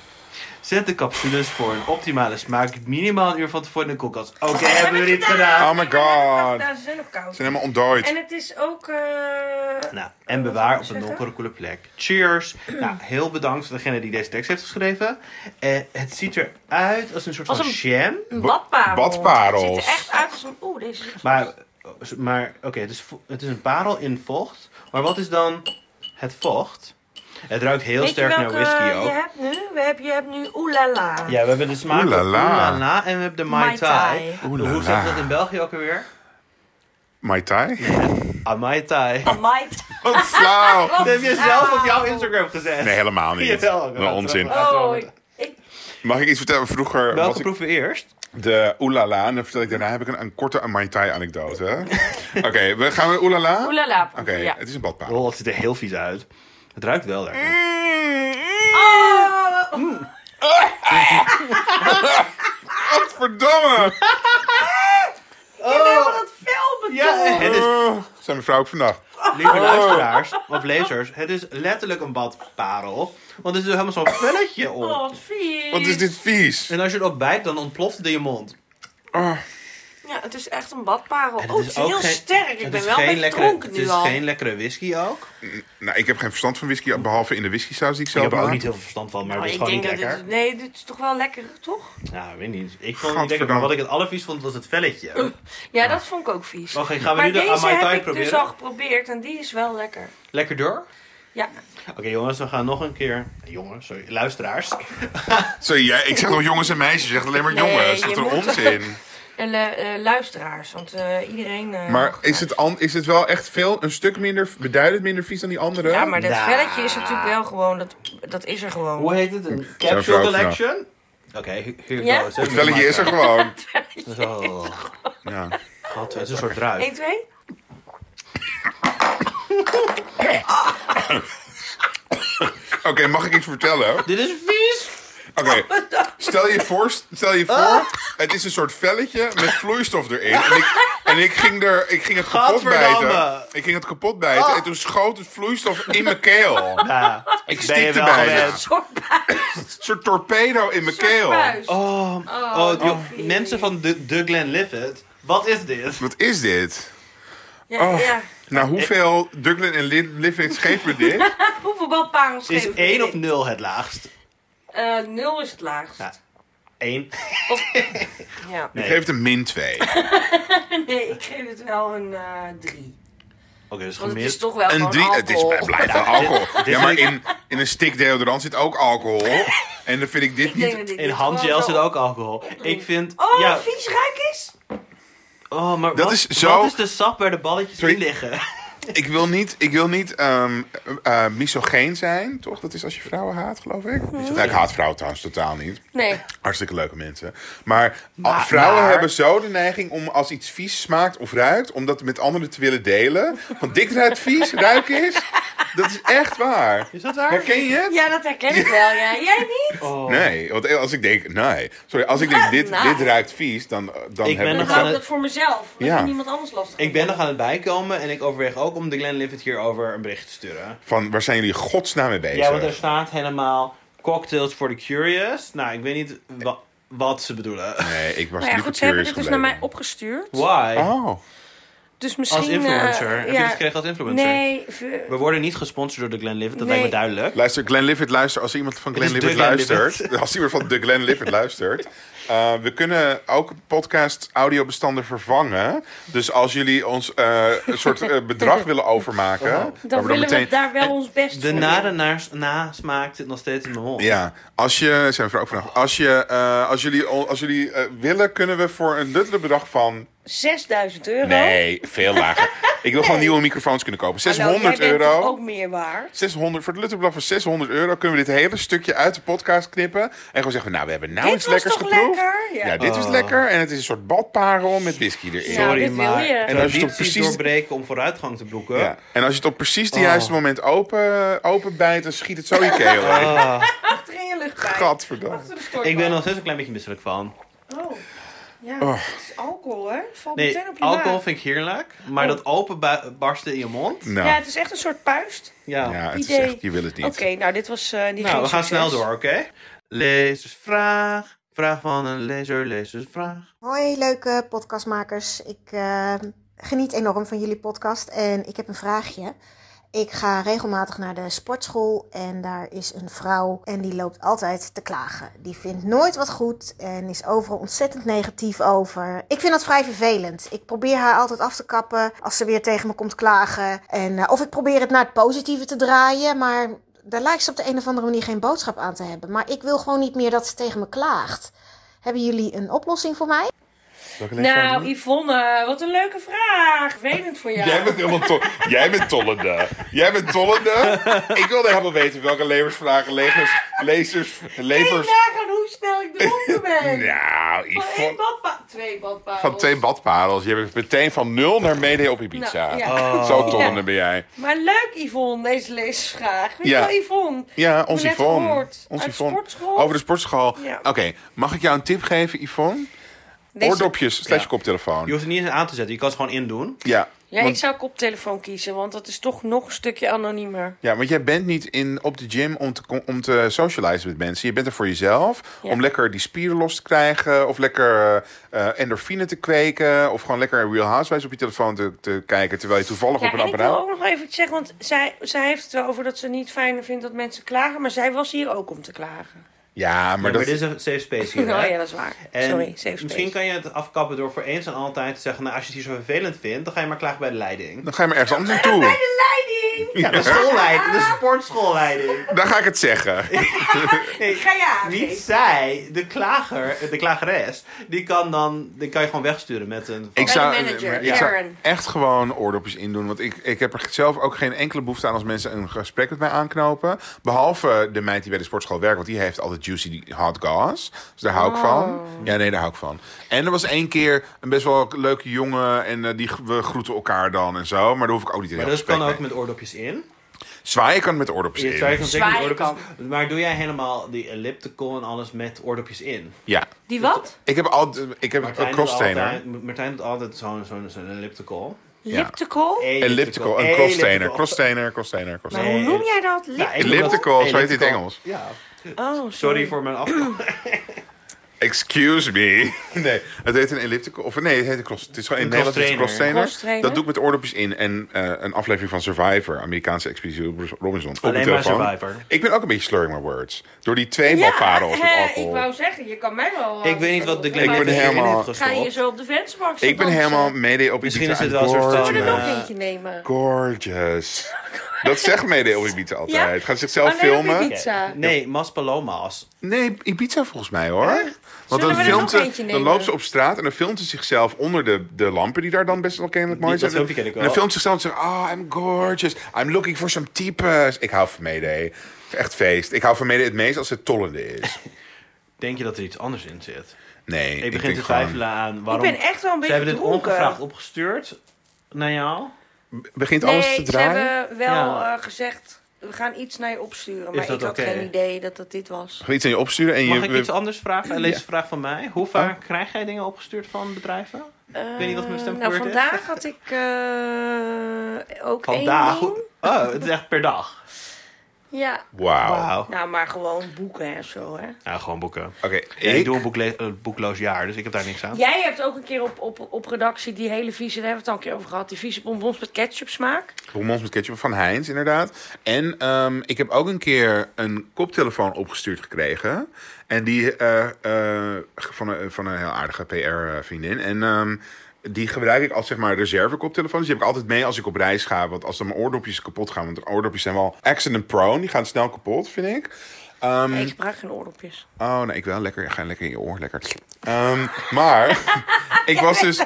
[SPEAKER 2] Zet de capsules voor een optimale smaak minimaal een uur van tevoren in de koelkast. Oké, hebben we dit gedaan?
[SPEAKER 3] Oh my god.
[SPEAKER 1] Nou, ze zijn nog koud.
[SPEAKER 3] Ze zijn helemaal ontdooid.
[SPEAKER 1] En het is ook... eh,
[SPEAKER 2] Nou, en bewaar op een donkere, koele plek. Cheers. Nou, heel bedankt voor degene die deze tekst heeft geschreven. Eh, het ziet eruit als een soort
[SPEAKER 1] Als
[SPEAKER 2] van
[SPEAKER 1] een-
[SPEAKER 2] jam.
[SPEAKER 1] Een badparel.
[SPEAKER 3] Badparels.
[SPEAKER 1] Het ziet er echt uit als een... Oeh, deze is...
[SPEAKER 2] Maar, maar oké, het, is vo- het is een parel in vocht. Maar wat is dan het vocht? Het ruikt heel
[SPEAKER 1] Weet je
[SPEAKER 2] sterk
[SPEAKER 1] welke eh,
[SPEAKER 2] naar whisky
[SPEAKER 1] je
[SPEAKER 2] ook.
[SPEAKER 1] hebt nu? We hebben, je hebt nu Oelala.
[SPEAKER 2] Ja, we hebben de smaak
[SPEAKER 3] Oeh la
[SPEAKER 2] van
[SPEAKER 3] la.
[SPEAKER 2] oelala en we hebben de mai,
[SPEAKER 1] Mai
[SPEAKER 2] tai.
[SPEAKER 1] Tai.
[SPEAKER 3] Oeh la
[SPEAKER 2] Hoe zeggen
[SPEAKER 3] la.
[SPEAKER 2] we dat in België ook alweer?
[SPEAKER 3] Mai Tai?
[SPEAKER 2] Ah, mai tai.
[SPEAKER 1] Amai.
[SPEAKER 3] Wat flauw!
[SPEAKER 2] Dat heb je
[SPEAKER 1] Oh.
[SPEAKER 2] zelf op jouw Instagram gezet.
[SPEAKER 3] Nee, helemaal niet.
[SPEAKER 2] Jawel,
[SPEAKER 3] Wel onzin.
[SPEAKER 2] laten we-
[SPEAKER 1] Oh,
[SPEAKER 2] laten we-
[SPEAKER 1] ik...
[SPEAKER 3] Mag ik iets vertellen? Vroeger
[SPEAKER 2] Welke
[SPEAKER 3] was ik
[SPEAKER 2] proeven we eerst?
[SPEAKER 3] de oelala. En dan vertel ik daarna heb ik een, een korte Mai Tai anekdote. Oké, we gaan we oelala? Oké,
[SPEAKER 1] Oelala. Ja.
[SPEAKER 3] het is een badpaal. Mm,
[SPEAKER 2] Oh, het ziet er heel vies uit. Het ruikt wel lekker.
[SPEAKER 1] Eh, Oh,
[SPEAKER 3] Verdomme!
[SPEAKER 1] helemaal dat filmen,
[SPEAKER 2] Ja,
[SPEAKER 1] toch?
[SPEAKER 2] het is,
[SPEAKER 3] Oh, zijn mevrouw ook vannacht.
[SPEAKER 2] lieve luisteraars of lezers, het is letterlijk een badparel. Want er zit helemaal zo'n velletje
[SPEAKER 1] Oh,
[SPEAKER 2] op.
[SPEAKER 1] wat vies.
[SPEAKER 3] Wat is dit vies?
[SPEAKER 2] En als je erop bijt, dan ontploft het in je mond.
[SPEAKER 3] Oh,
[SPEAKER 1] Ja, het is echt een badparel.
[SPEAKER 2] En
[SPEAKER 1] Oh, het is heel
[SPEAKER 2] geen-
[SPEAKER 1] sterk. Ik
[SPEAKER 2] het
[SPEAKER 1] ben
[SPEAKER 2] is
[SPEAKER 1] wel
[SPEAKER 2] geen
[SPEAKER 1] een beetje
[SPEAKER 2] lekkere-
[SPEAKER 1] dronken
[SPEAKER 2] Het
[SPEAKER 1] nu
[SPEAKER 2] is
[SPEAKER 1] al.
[SPEAKER 2] geen lekkere whisky ook.
[SPEAKER 3] nou, ik heb geen verstand van whisky, behalve in de whiskysaus die ik
[SPEAKER 2] Ik
[SPEAKER 3] zelf
[SPEAKER 2] heb er ook
[SPEAKER 3] maak.
[SPEAKER 2] niet heel veel verstand van, maar
[SPEAKER 1] Oh,
[SPEAKER 2] het is
[SPEAKER 1] ik
[SPEAKER 2] gewoon
[SPEAKER 1] denk
[SPEAKER 2] niet
[SPEAKER 1] dat
[SPEAKER 2] lekker.
[SPEAKER 1] het, nee, dit is toch wel lekker, toch?
[SPEAKER 2] Nou, ik weet niet. Ik vond het niet lekker,
[SPEAKER 3] Gadverdamme.
[SPEAKER 2] maar wat ik het allervies vond, was het velletje.
[SPEAKER 1] Ja, dat vond ik ook vies.
[SPEAKER 2] Oké, gaan we
[SPEAKER 1] Eh. maar
[SPEAKER 2] nu de
[SPEAKER 1] deze
[SPEAKER 2] Amai
[SPEAKER 1] heb
[SPEAKER 2] Tai
[SPEAKER 1] ik dus
[SPEAKER 2] proberen?
[SPEAKER 1] al geprobeerd en die is wel lekker.
[SPEAKER 2] Lekker door?
[SPEAKER 1] Ja,
[SPEAKER 2] Oké jongens, we gaan nog een keer... Jongens, sorry, luisteraars.
[SPEAKER 3] Zo, ja, ik zeg wel jongens en meisjes, je zegt alleen maar
[SPEAKER 1] Nee,
[SPEAKER 3] jongens.
[SPEAKER 1] je
[SPEAKER 3] Wat een
[SPEAKER 1] moet-
[SPEAKER 3] onzin.
[SPEAKER 1] en eh, eh, luisteraars, want eh, iedereen... eh,
[SPEAKER 3] Maar
[SPEAKER 1] mag
[SPEAKER 3] is het, an- is het wel echt veel, een stuk minder, beduidend minder vies dan die andere?
[SPEAKER 1] Ja, maar dat
[SPEAKER 2] Nou.
[SPEAKER 1] velletje is natuurlijk wel gewoon, dat, dat is er gewoon.
[SPEAKER 2] Hoe heet het? Een
[SPEAKER 3] vrouw
[SPEAKER 2] capsule
[SPEAKER 3] ook
[SPEAKER 2] collection? Oké, here
[SPEAKER 1] Ja?
[SPEAKER 2] goes.
[SPEAKER 3] Het velletje is er gewoon.
[SPEAKER 2] Zo.
[SPEAKER 3] Ja.
[SPEAKER 2] Wat, het is een soort druif.
[SPEAKER 1] 1, 2.
[SPEAKER 3] Oké, mag ik iets vertellen?
[SPEAKER 2] Dit is vies.
[SPEAKER 3] Oké, stel je voor, stel je voor het is een soort velletje met vloeistof erin. En ik, en ik, ging, er, ik ging het kapot
[SPEAKER 2] Gadverdamme. Ah.
[SPEAKER 3] bijten. Ik ging het kapot bijten en toen schoot het vloeistof in mijn keel.
[SPEAKER 2] Ja,
[SPEAKER 3] Ik
[SPEAKER 2] ben je
[SPEAKER 3] stiekte
[SPEAKER 2] wel
[SPEAKER 3] bijna.
[SPEAKER 2] gewend.
[SPEAKER 3] Een
[SPEAKER 1] Soort buis.
[SPEAKER 3] soort torpedo in mijn keel.
[SPEAKER 4] Buis.
[SPEAKER 2] Oh, oh, joh, mensen van de, de Glen Livet, wat is dit?
[SPEAKER 3] Wat is dit?
[SPEAKER 1] Ja,
[SPEAKER 3] Oh.
[SPEAKER 1] ja.
[SPEAKER 3] Nou, hoeveel Duglin en Lin- Livits geven we dit?
[SPEAKER 1] Hoeveel balparels
[SPEAKER 2] Is
[SPEAKER 1] geven we
[SPEAKER 2] 1
[SPEAKER 1] dit?
[SPEAKER 2] of 0 het laagst?
[SPEAKER 1] Eh, nul is het laagst.
[SPEAKER 2] Ja. 1.
[SPEAKER 1] Ja.
[SPEAKER 3] Ik
[SPEAKER 2] Nee.
[SPEAKER 3] geef het een min 2.
[SPEAKER 1] Nee, ik geef het wel een eh drie.
[SPEAKER 2] Oké, dus
[SPEAKER 1] Want het is
[SPEAKER 2] gemist.
[SPEAKER 1] toch wel
[SPEAKER 3] Een
[SPEAKER 1] gewoon
[SPEAKER 3] drie, het is
[SPEAKER 1] alcohol.
[SPEAKER 3] blijft wel alcohol.
[SPEAKER 2] dit
[SPEAKER 3] Ja, maar
[SPEAKER 2] is-
[SPEAKER 3] in, in een stick deodorant zit ook alcohol. En dan vind ik dit
[SPEAKER 1] Ik denk dat
[SPEAKER 3] niet...
[SPEAKER 1] dit
[SPEAKER 2] In
[SPEAKER 1] dit
[SPEAKER 2] handgel
[SPEAKER 1] gewoon
[SPEAKER 2] zit
[SPEAKER 1] wel-
[SPEAKER 2] ook alcohol. Ik vind.
[SPEAKER 1] Oh,
[SPEAKER 2] ja,
[SPEAKER 1] vies ruik is?
[SPEAKER 2] oh, maar
[SPEAKER 3] Dat
[SPEAKER 2] wat,
[SPEAKER 3] is zo-
[SPEAKER 2] wat is de sap waar de balletjes
[SPEAKER 3] Sorry.
[SPEAKER 2] in liggen?
[SPEAKER 3] Ik wil niet, ik wil niet ehm, eh, eh, misogeen zijn, toch? Dat is als je vrouwen haat, geloof ik. Nou, ik haat vrouwen trouwens totaal niet.
[SPEAKER 1] Nee.
[SPEAKER 3] Hartstikke leuke mensen. Maar al-
[SPEAKER 2] Maar-
[SPEAKER 3] vrouwen
[SPEAKER 2] maar-
[SPEAKER 3] hebben zo de neiging om als iets vies smaakt of ruikt... om dat met anderen te willen delen. Want dik ruikt vies, ruik is. Dat is echt waar.
[SPEAKER 2] Is dat waar?
[SPEAKER 3] Herken je het?
[SPEAKER 1] Ja, dat herken ik wel, ja. Jij niet?
[SPEAKER 2] Oh.
[SPEAKER 3] Nee, want als ik denk, nee. Sorry, als ik denk, dit,
[SPEAKER 1] Nou.
[SPEAKER 3] dit ruikt vies, dan, dan
[SPEAKER 2] Ik
[SPEAKER 3] heb
[SPEAKER 2] ben
[SPEAKER 1] Dan
[SPEAKER 2] nog aan
[SPEAKER 3] ik...
[SPEAKER 1] hou ik
[SPEAKER 2] het-
[SPEAKER 1] dat voor mezelf. Dat
[SPEAKER 3] Ja.
[SPEAKER 1] ja. niemand anders lastig
[SPEAKER 2] Ik ben nog aan het bijkomen en ik overweeg ook om de Glen Livet hierover een bericht te sturen.
[SPEAKER 3] Van, waar zijn jullie in godsnaam mee bezig?
[SPEAKER 2] Ja, want er staat helemaal cocktails for the curious. Nou, ik weet niet wa- wat ze bedoelen.
[SPEAKER 3] Nee, ik was
[SPEAKER 1] Nou ja,
[SPEAKER 3] liever
[SPEAKER 1] goed, ze hebben dit dus
[SPEAKER 3] curious
[SPEAKER 1] naar
[SPEAKER 3] gebleven.
[SPEAKER 1] mij opgestuurd.
[SPEAKER 2] Why?
[SPEAKER 3] Oh,
[SPEAKER 1] Dus
[SPEAKER 2] Als
[SPEAKER 1] misschien... eh,
[SPEAKER 2] influencer. Heb je
[SPEAKER 1] ja.
[SPEAKER 2] dit gekregen als influencer?
[SPEAKER 1] Nee, v-
[SPEAKER 2] We worden niet gesponsord door de Glen Livet, dat
[SPEAKER 1] Nee.
[SPEAKER 2] lijkt me duidelijk.
[SPEAKER 3] luister, Glenn Lifford, luister. Als er iemand van
[SPEAKER 2] Het
[SPEAKER 3] Glenn
[SPEAKER 2] is
[SPEAKER 3] Lifford
[SPEAKER 2] de Glenn
[SPEAKER 3] luistert... Als iemand van de Glenn Lifford luistert... eh, we kunnen ook podcast audiobestanden vervangen. Dus als jullie ons eh, een soort eh, bedrag willen overmaken... waar we
[SPEAKER 1] dan willen
[SPEAKER 3] meteen-
[SPEAKER 1] we daar wel ons best
[SPEAKER 2] De
[SPEAKER 1] voor
[SPEAKER 2] nade
[SPEAKER 1] doen.
[SPEAKER 2] naars- nasmaak zit nog steeds in mijn mond.
[SPEAKER 3] Ja, als je, zijn we er ook vanaf. Als, je, eh, als jullie, als jullie eh, willen, kunnen we voor een luttele bedrag van
[SPEAKER 1] 6000 euro.
[SPEAKER 3] Nee, veel lager. Ik wil gewoon nieuwe microfoons kunnen kopen.
[SPEAKER 1] Hallo,
[SPEAKER 3] 600
[SPEAKER 1] jij bent
[SPEAKER 3] euro.
[SPEAKER 1] toch ook meer waard.
[SPEAKER 3] 600, voor het Lutterblad van 600 euro kunnen we dit hele stukje uit de podcast knippen. En gewoon zeggen, nou, we hebben nou
[SPEAKER 1] Dit
[SPEAKER 3] iets
[SPEAKER 1] was
[SPEAKER 3] lekkers
[SPEAKER 1] toch
[SPEAKER 3] geproefd.
[SPEAKER 1] lekker?
[SPEAKER 3] Ja,
[SPEAKER 1] Ja.
[SPEAKER 3] dit is
[SPEAKER 2] Oh.
[SPEAKER 3] lekker. En het is een soort badparel met whisky erin.
[SPEAKER 1] Ja,
[SPEAKER 2] Sorry,
[SPEAKER 1] dit wil
[SPEAKER 2] maar
[SPEAKER 1] je. En als
[SPEAKER 3] je het op
[SPEAKER 2] tradities
[SPEAKER 3] precies-
[SPEAKER 2] doorbreken om vooruitgang te boeken.
[SPEAKER 3] Ja. En als je het op precies het
[SPEAKER 2] Oh.
[SPEAKER 3] juiste moment open, openbijt, dan schiet het zo je keel in.
[SPEAKER 2] Ah,
[SPEAKER 1] Achter in je luchtpijp.
[SPEAKER 3] Gadverdamme.
[SPEAKER 1] Achter de stortbank.
[SPEAKER 2] ik ben er nog steeds een klein beetje misselijk van.
[SPEAKER 1] Oh. Ja,
[SPEAKER 3] Oh.
[SPEAKER 1] het is alcohol, hè? Het Valt
[SPEAKER 2] Nee,
[SPEAKER 1] meteen op je
[SPEAKER 2] alcohol
[SPEAKER 1] maag.
[SPEAKER 2] vind ik heerlijk, maar
[SPEAKER 1] Oh.
[SPEAKER 2] dat openbarsten in je mond.
[SPEAKER 3] Nou,
[SPEAKER 1] Ja,
[SPEAKER 3] ja,
[SPEAKER 1] het is echt een soort puist.
[SPEAKER 2] Ja.
[SPEAKER 3] het is
[SPEAKER 1] idee.
[SPEAKER 3] echt, je wil het niet.
[SPEAKER 1] Oké, nou, dit was eh niet
[SPEAKER 2] Nou,
[SPEAKER 1] geen
[SPEAKER 2] we gaan
[SPEAKER 1] succes.
[SPEAKER 2] snel door, oké? Lezersvraag. Vraag van een lezer, lezersvraag.
[SPEAKER 5] Hoi leuke podcastmakers. Ik eh, geniet enorm van jullie podcast en ik heb een vraagje. Ik ga regelmatig naar de sportschool en daar is een vrouw en die loopt altijd te klagen. Die vindt nooit wat goed en is overal ontzettend negatief over. Ik vind dat vrij vervelend. Ik probeer haar altijd af te kappen als ze weer tegen me komt klagen. En, eh, of ik probeer het naar het positieve te draaien, maar daar lijkt ze op de een of andere manier geen boodschap aan te hebben. Maar ik wil gewoon niet meer dat ze tegen me klaagt. Hebben jullie een oplossing voor mij?
[SPEAKER 3] Welke leeftijd doen
[SPEAKER 1] Nou,
[SPEAKER 3] we?
[SPEAKER 1] Yvonne, wat een leuke vraag. Wenend voor jou.
[SPEAKER 3] Jij bent helemaal to Jij bent tollende. Jij bent tollende. Ik wilde helemaal weten welke leversvragen, levers, lezers,
[SPEAKER 1] Kun je
[SPEAKER 3] levers.
[SPEAKER 1] nagaan hoe snel ik dronken ben?
[SPEAKER 3] Nou,
[SPEAKER 1] Van één
[SPEAKER 3] Yvonne.
[SPEAKER 1] badpa- Twee badpaden.
[SPEAKER 3] Van twee badparels. Je bent meteen van nul naar mede op Ibiza.
[SPEAKER 1] Nou, ja.
[SPEAKER 2] Oh.
[SPEAKER 3] Zo tollende ben jij.
[SPEAKER 1] Maar leuk, Yvonne, deze leesvraag. Weet je
[SPEAKER 3] Ja.
[SPEAKER 1] wel, Yvonne?
[SPEAKER 3] Ja, ons
[SPEAKER 1] net
[SPEAKER 3] Yvonne.
[SPEAKER 1] gehoord.
[SPEAKER 3] Ons
[SPEAKER 1] Uit de
[SPEAKER 3] Yvonne.
[SPEAKER 1] sportschool.
[SPEAKER 3] Over de sportschool.
[SPEAKER 1] Ja.
[SPEAKER 3] Oké, mag ik jou een tip geven, Yvonne?
[SPEAKER 1] Deze-
[SPEAKER 3] Oordopjes slash
[SPEAKER 2] Ja. Je
[SPEAKER 3] koptelefoon.
[SPEAKER 2] hoeft het niet eens aan te zetten, je kan het gewoon indoen.
[SPEAKER 3] Ja.
[SPEAKER 1] Ja, ik
[SPEAKER 3] Want,
[SPEAKER 1] zou koptelefoon kiezen, want dat is toch nog een stukje anoniemer.
[SPEAKER 3] ja, want jij bent niet in, op de gym om te, con- om te socializen met mensen. Je bent er voor jezelf.
[SPEAKER 1] Ja.
[SPEAKER 3] Om lekker die spieren los te krijgen. Of lekker eh endorfine te kweken. Of gewoon lekker Real Housewives op je telefoon te, te kijken. Terwijl je toevallig
[SPEAKER 1] Ja,
[SPEAKER 3] op een
[SPEAKER 1] en ik wil
[SPEAKER 3] apparaat...
[SPEAKER 1] ook nog even iets zeggen, want zij, zij heeft het wel over dat ze niet fijn vindt dat mensen klagen, maar zij was hier ook om te klagen.
[SPEAKER 3] Ja,
[SPEAKER 2] Maar,
[SPEAKER 3] maar
[SPEAKER 2] ja,
[SPEAKER 3] dat...
[SPEAKER 2] maar dit is een safe space hier. hè?
[SPEAKER 1] Oh ja, dat is waar.
[SPEAKER 2] En
[SPEAKER 1] Sorry, safe space.
[SPEAKER 2] misschien kan je het afkappen door voor eens en altijd te zeggen... nou, als je het hier zo vervelend vindt, dan ga je maar klagen bij de leiding.
[SPEAKER 3] Dan ga je maar ergens anders
[SPEAKER 1] De
[SPEAKER 3] naartoe.
[SPEAKER 1] leiding!
[SPEAKER 2] Ja, de schoolleiding, de sportschoolleiding.
[SPEAKER 3] Dan ga ik het zeggen.
[SPEAKER 2] Nee,
[SPEAKER 1] Ga je aangeven.
[SPEAKER 2] niet zij, de klager, de klageres, die kan, dan, die kan je gewoon wegsturen met een...
[SPEAKER 3] Ik
[SPEAKER 1] de
[SPEAKER 3] zou,
[SPEAKER 1] manager,
[SPEAKER 3] maar ik zou
[SPEAKER 1] Karen.
[SPEAKER 3] echt gewoon oordopjes indoen. Want ik, ik heb er zelf ook geen enkele behoefte aan als mensen een gesprek met mij aanknopen. Behalve de meid die bij de sportschool werkt. Want die heeft altijd juicy hot gas. Dus daar hou ik van.
[SPEAKER 1] Oh.
[SPEAKER 3] Ja, nee, daar hou ik van. En er was één keer een best wel leuke jongen. En eh, die, g- we groeten elkaar dan en zo. Maar daar hoef ik ook niet in
[SPEAKER 2] Maar
[SPEAKER 3] heel
[SPEAKER 2] dat Dus
[SPEAKER 3] gesprek
[SPEAKER 2] kan ook
[SPEAKER 3] mee.
[SPEAKER 2] met oordopjes in.
[SPEAKER 3] Zwaaien kan met oordopjes
[SPEAKER 2] Je
[SPEAKER 3] in.
[SPEAKER 2] twijfelt zeker met
[SPEAKER 1] Zwaaien
[SPEAKER 2] oordopjes. Maar doe jij helemaal die elliptical en alles met oordopjes in?
[SPEAKER 3] Ja.
[SPEAKER 1] Die wat?
[SPEAKER 3] Ik heb, al, ik heb een
[SPEAKER 2] doet
[SPEAKER 3] crosstrainer.
[SPEAKER 2] altijd- Martijn doet altijd zo'n zo'n zo'n elliptical.
[SPEAKER 1] Elliptical?
[SPEAKER 3] Elliptical, een crosstrainer. Crosstrainer, crosstrainer,
[SPEAKER 1] Maar
[SPEAKER 3] crosstrainer.
[SPEAKER 1] hoe
[SPEAKER 2] Nee,
[SPEAKER 1] noem
[SPEAKER 2] het-
[SPEAKER 1] jij dat?
[SPEAKER 2] Ja, ik
[SPEAKER 1] Lip-
[SPEAKER 2] noem dat
[SPEAKER 3] Elliptical, zo heet het in Engels.
[SPEAKER 2] Ja.
[SPEAKER 1] Oh, sorry.
[SPEAKER 2] Sorry voor mijn afkomst.
[SPEAKER 3] Excuse me. Nee, het heet een elliptical. Of nee, het heet een cross. Het is gewoon in
[SPEAKER 2] Een
[SPEAKER 3] Nederland is het een
[SPEAKER 2] crosstrainer.
[SPEAKER 3] crosstrainer. Dat doe ik met oordopjes in. En eh, een aflevering van Survivor, Amerikaanse expeditie Robinson. Op
[SPEAKER 2] Alleen
[SPEAKER 3] mijn
[SPEAKER 2] maar
[SPEAKER 3] telefoon.
[SPEAKER 2] Survivor.
[SPEAKER 3] Ik ben ook een beetje slurring my words. Door die twee balparels met
[SPEAKER 1] hè,
[SPEAKER 3] alcohol.
[SPEAKER 1] ik wou zeggen, je kan mij wel... eh,
[SPEAKER 2] Ik weet niet wat de
[SPEAKER 3] ben
[SPEAKER 2] Glenn ik
[SPEAKER 3] helemaal-
[SPEAKER 2] heeft
[SPEAKER 1] Ga je
[SPEAKER 2] gestopt.
[SPEAKER 1] zo op de vensterbank
[SPEAKER 3] Ik ben helemaal mede op
[SPEAKER 2] Misschien
[SPEAKER 3] Ibiza
[SPEAKER 2] is het
[SPEAKER 3] aan
[SPEAKER 2] wel een soort van,
[SPEAKER 1] Zullen we er nog
[SPEAKER 2] eh,
[SPEAKER 1] eentje nemen?
[SPEAKER 3] Gorgeous. Dat zegt mede op Ibiza altijd.
[SPEAKER 1] Ja?
[SPEAKER 3] Gaan zichzelf
[SPEAKER 1] Alleen op
[SPEAKER 3] filmen.
[SPEAKER 1] Ibiza. pizza.
[SPEAKER 2] Nee, Mas Palomas.
[SPEAKER 3] Nee, Ibiza volgens mij hoor. Want
[SPEAKER 1] Zullen
[SPEAKER 3] dan,
[SPEAKER 1] we er
[SPEAKER 3] filmt
[SPEAKER 1] nog
[SPEAKER 3] ze,
[SPEAKER 1] eentje
[SPEAKER 3] dan
[SPEAKER 1] nemen?
[SPEAKER 3] loopt ze op straat en dan filmt ze zichzelf onder de, de lampen die daar dan best wel kennelijk mooi
[SPEAKER 2] Die- dat
[SPEAKER 3] zijn.
[SPEAKER 2] filmpje ken ik
[SPEAKER 3] en
[SPEAKER 2] wel.
[SPEAKER 3] dan filmt ze zichzelf en zegt, ah, I'm gorgeous. I'm looking for some types. Ik hou van Mayday. Echt feest. Ik hou van Mayday het meest als het tollende is.
[SPEAKER 2] Denk je dat er iets anders in zit?
[SPEAKER 3] Nee,
[SPEAKER 2] Ik begin
[SPEAKER 3] denk
[SPEAKER 2] te
[SPEAKER 3] gewoon-
[SPEAKER 2] twijfelen aan waarom...
[SPEAKER 1] Ik ben echt wel een
[SPEAKER 2] Ze
[SPEAKER 1] beetje
[SPEAKER 2] hebben dit
[SPEAKER 1] dronken.
[SPEAKER 2] ongevraagd opgestuurd naar jou.
[SPEAKER 3] Begint alles te
[SPEAKER 1] Nee, ze
[SPEAKER 3] draaien?
[SPEAKER 1] hebben wel
[SPEAKER 2] Ja.
[SPEAKER 1] eh, gezegd, we gaan iets naar je opsturen. Maar
[SPEAKER 2] dat
[SPEAKER 1] ik had
[SPEAKER 2] oké?
[SPEAKER 1] geen idee dat dat dit was.
[SPEAKER 3] Gaan we iets aan je opsturen? En
[SPEAKER 2] Mag
[SPEAKER 3] je,
[SPEAKER 2] ik iets anders vragen? Lees een vraag van mij. Hoe vaak krijg jij dingen opgestuurd van bedrijven?
[SPEAKER 1] ik
[SPEAKER 2] weet niet wat mijn stem
[SPEAKER 1] Nou,
[SPEAKER 2] gebeurd is.
[SPEAKER 1] vandaag had ik eh, ook
[SPEAKER 2] Vandaag?
[SPEAKER 1] één ding.
[SPEAKER 2] Oh, het is echt per dag.
[SPEAKER 1] Ja,
[SPEAKER 3] Wauw.
[SPEAKER 2] Wauw.
[SPEAKER 1] nou, maar gewoon boeken en zo, hè.
[SPEAKER 2] Ja, gewoon boeken.
[SPEAKER 3] Oké,
[SPEAKER 2] Ja, ik
[SPEAKER 3] ik-
[SPEAKER 2] doe een boekle- eh, boekloos jaar, dus ik heb daar niks aan.
[SPEAKER 1] Jij hebt ook een keer op, op, op redactie die hele vieze, daar hebben we het al een keer over gehad, die vieze bonbons met ketchup smaak.
[SPEAKER 3] Bonbons met ketchup van Heinz, inderdaad. En ehm, ik heb ook een keer een koptelefoon opgestuurd gekregen. En die eh, eh, van, een, van een heel aardige PR-vriendin. En ehm, die gebruik ik als zeg maar reserve koptelefoon. Dus die heb ik altijd mee als ik op reis ga. Want als dan mijn oordopjes kapot gaan. Want oordopjes zijn wel accident prone. Die gaan snel kapot, vind ik. Ehm,
[SPEAKER 1] Nee, ik gebruik geen oordopjes.
[SPEAKER 3] oh, nee, ik wel. Lekker, ga lekker in je oor. Lekker. Ehm, maar ik was dus...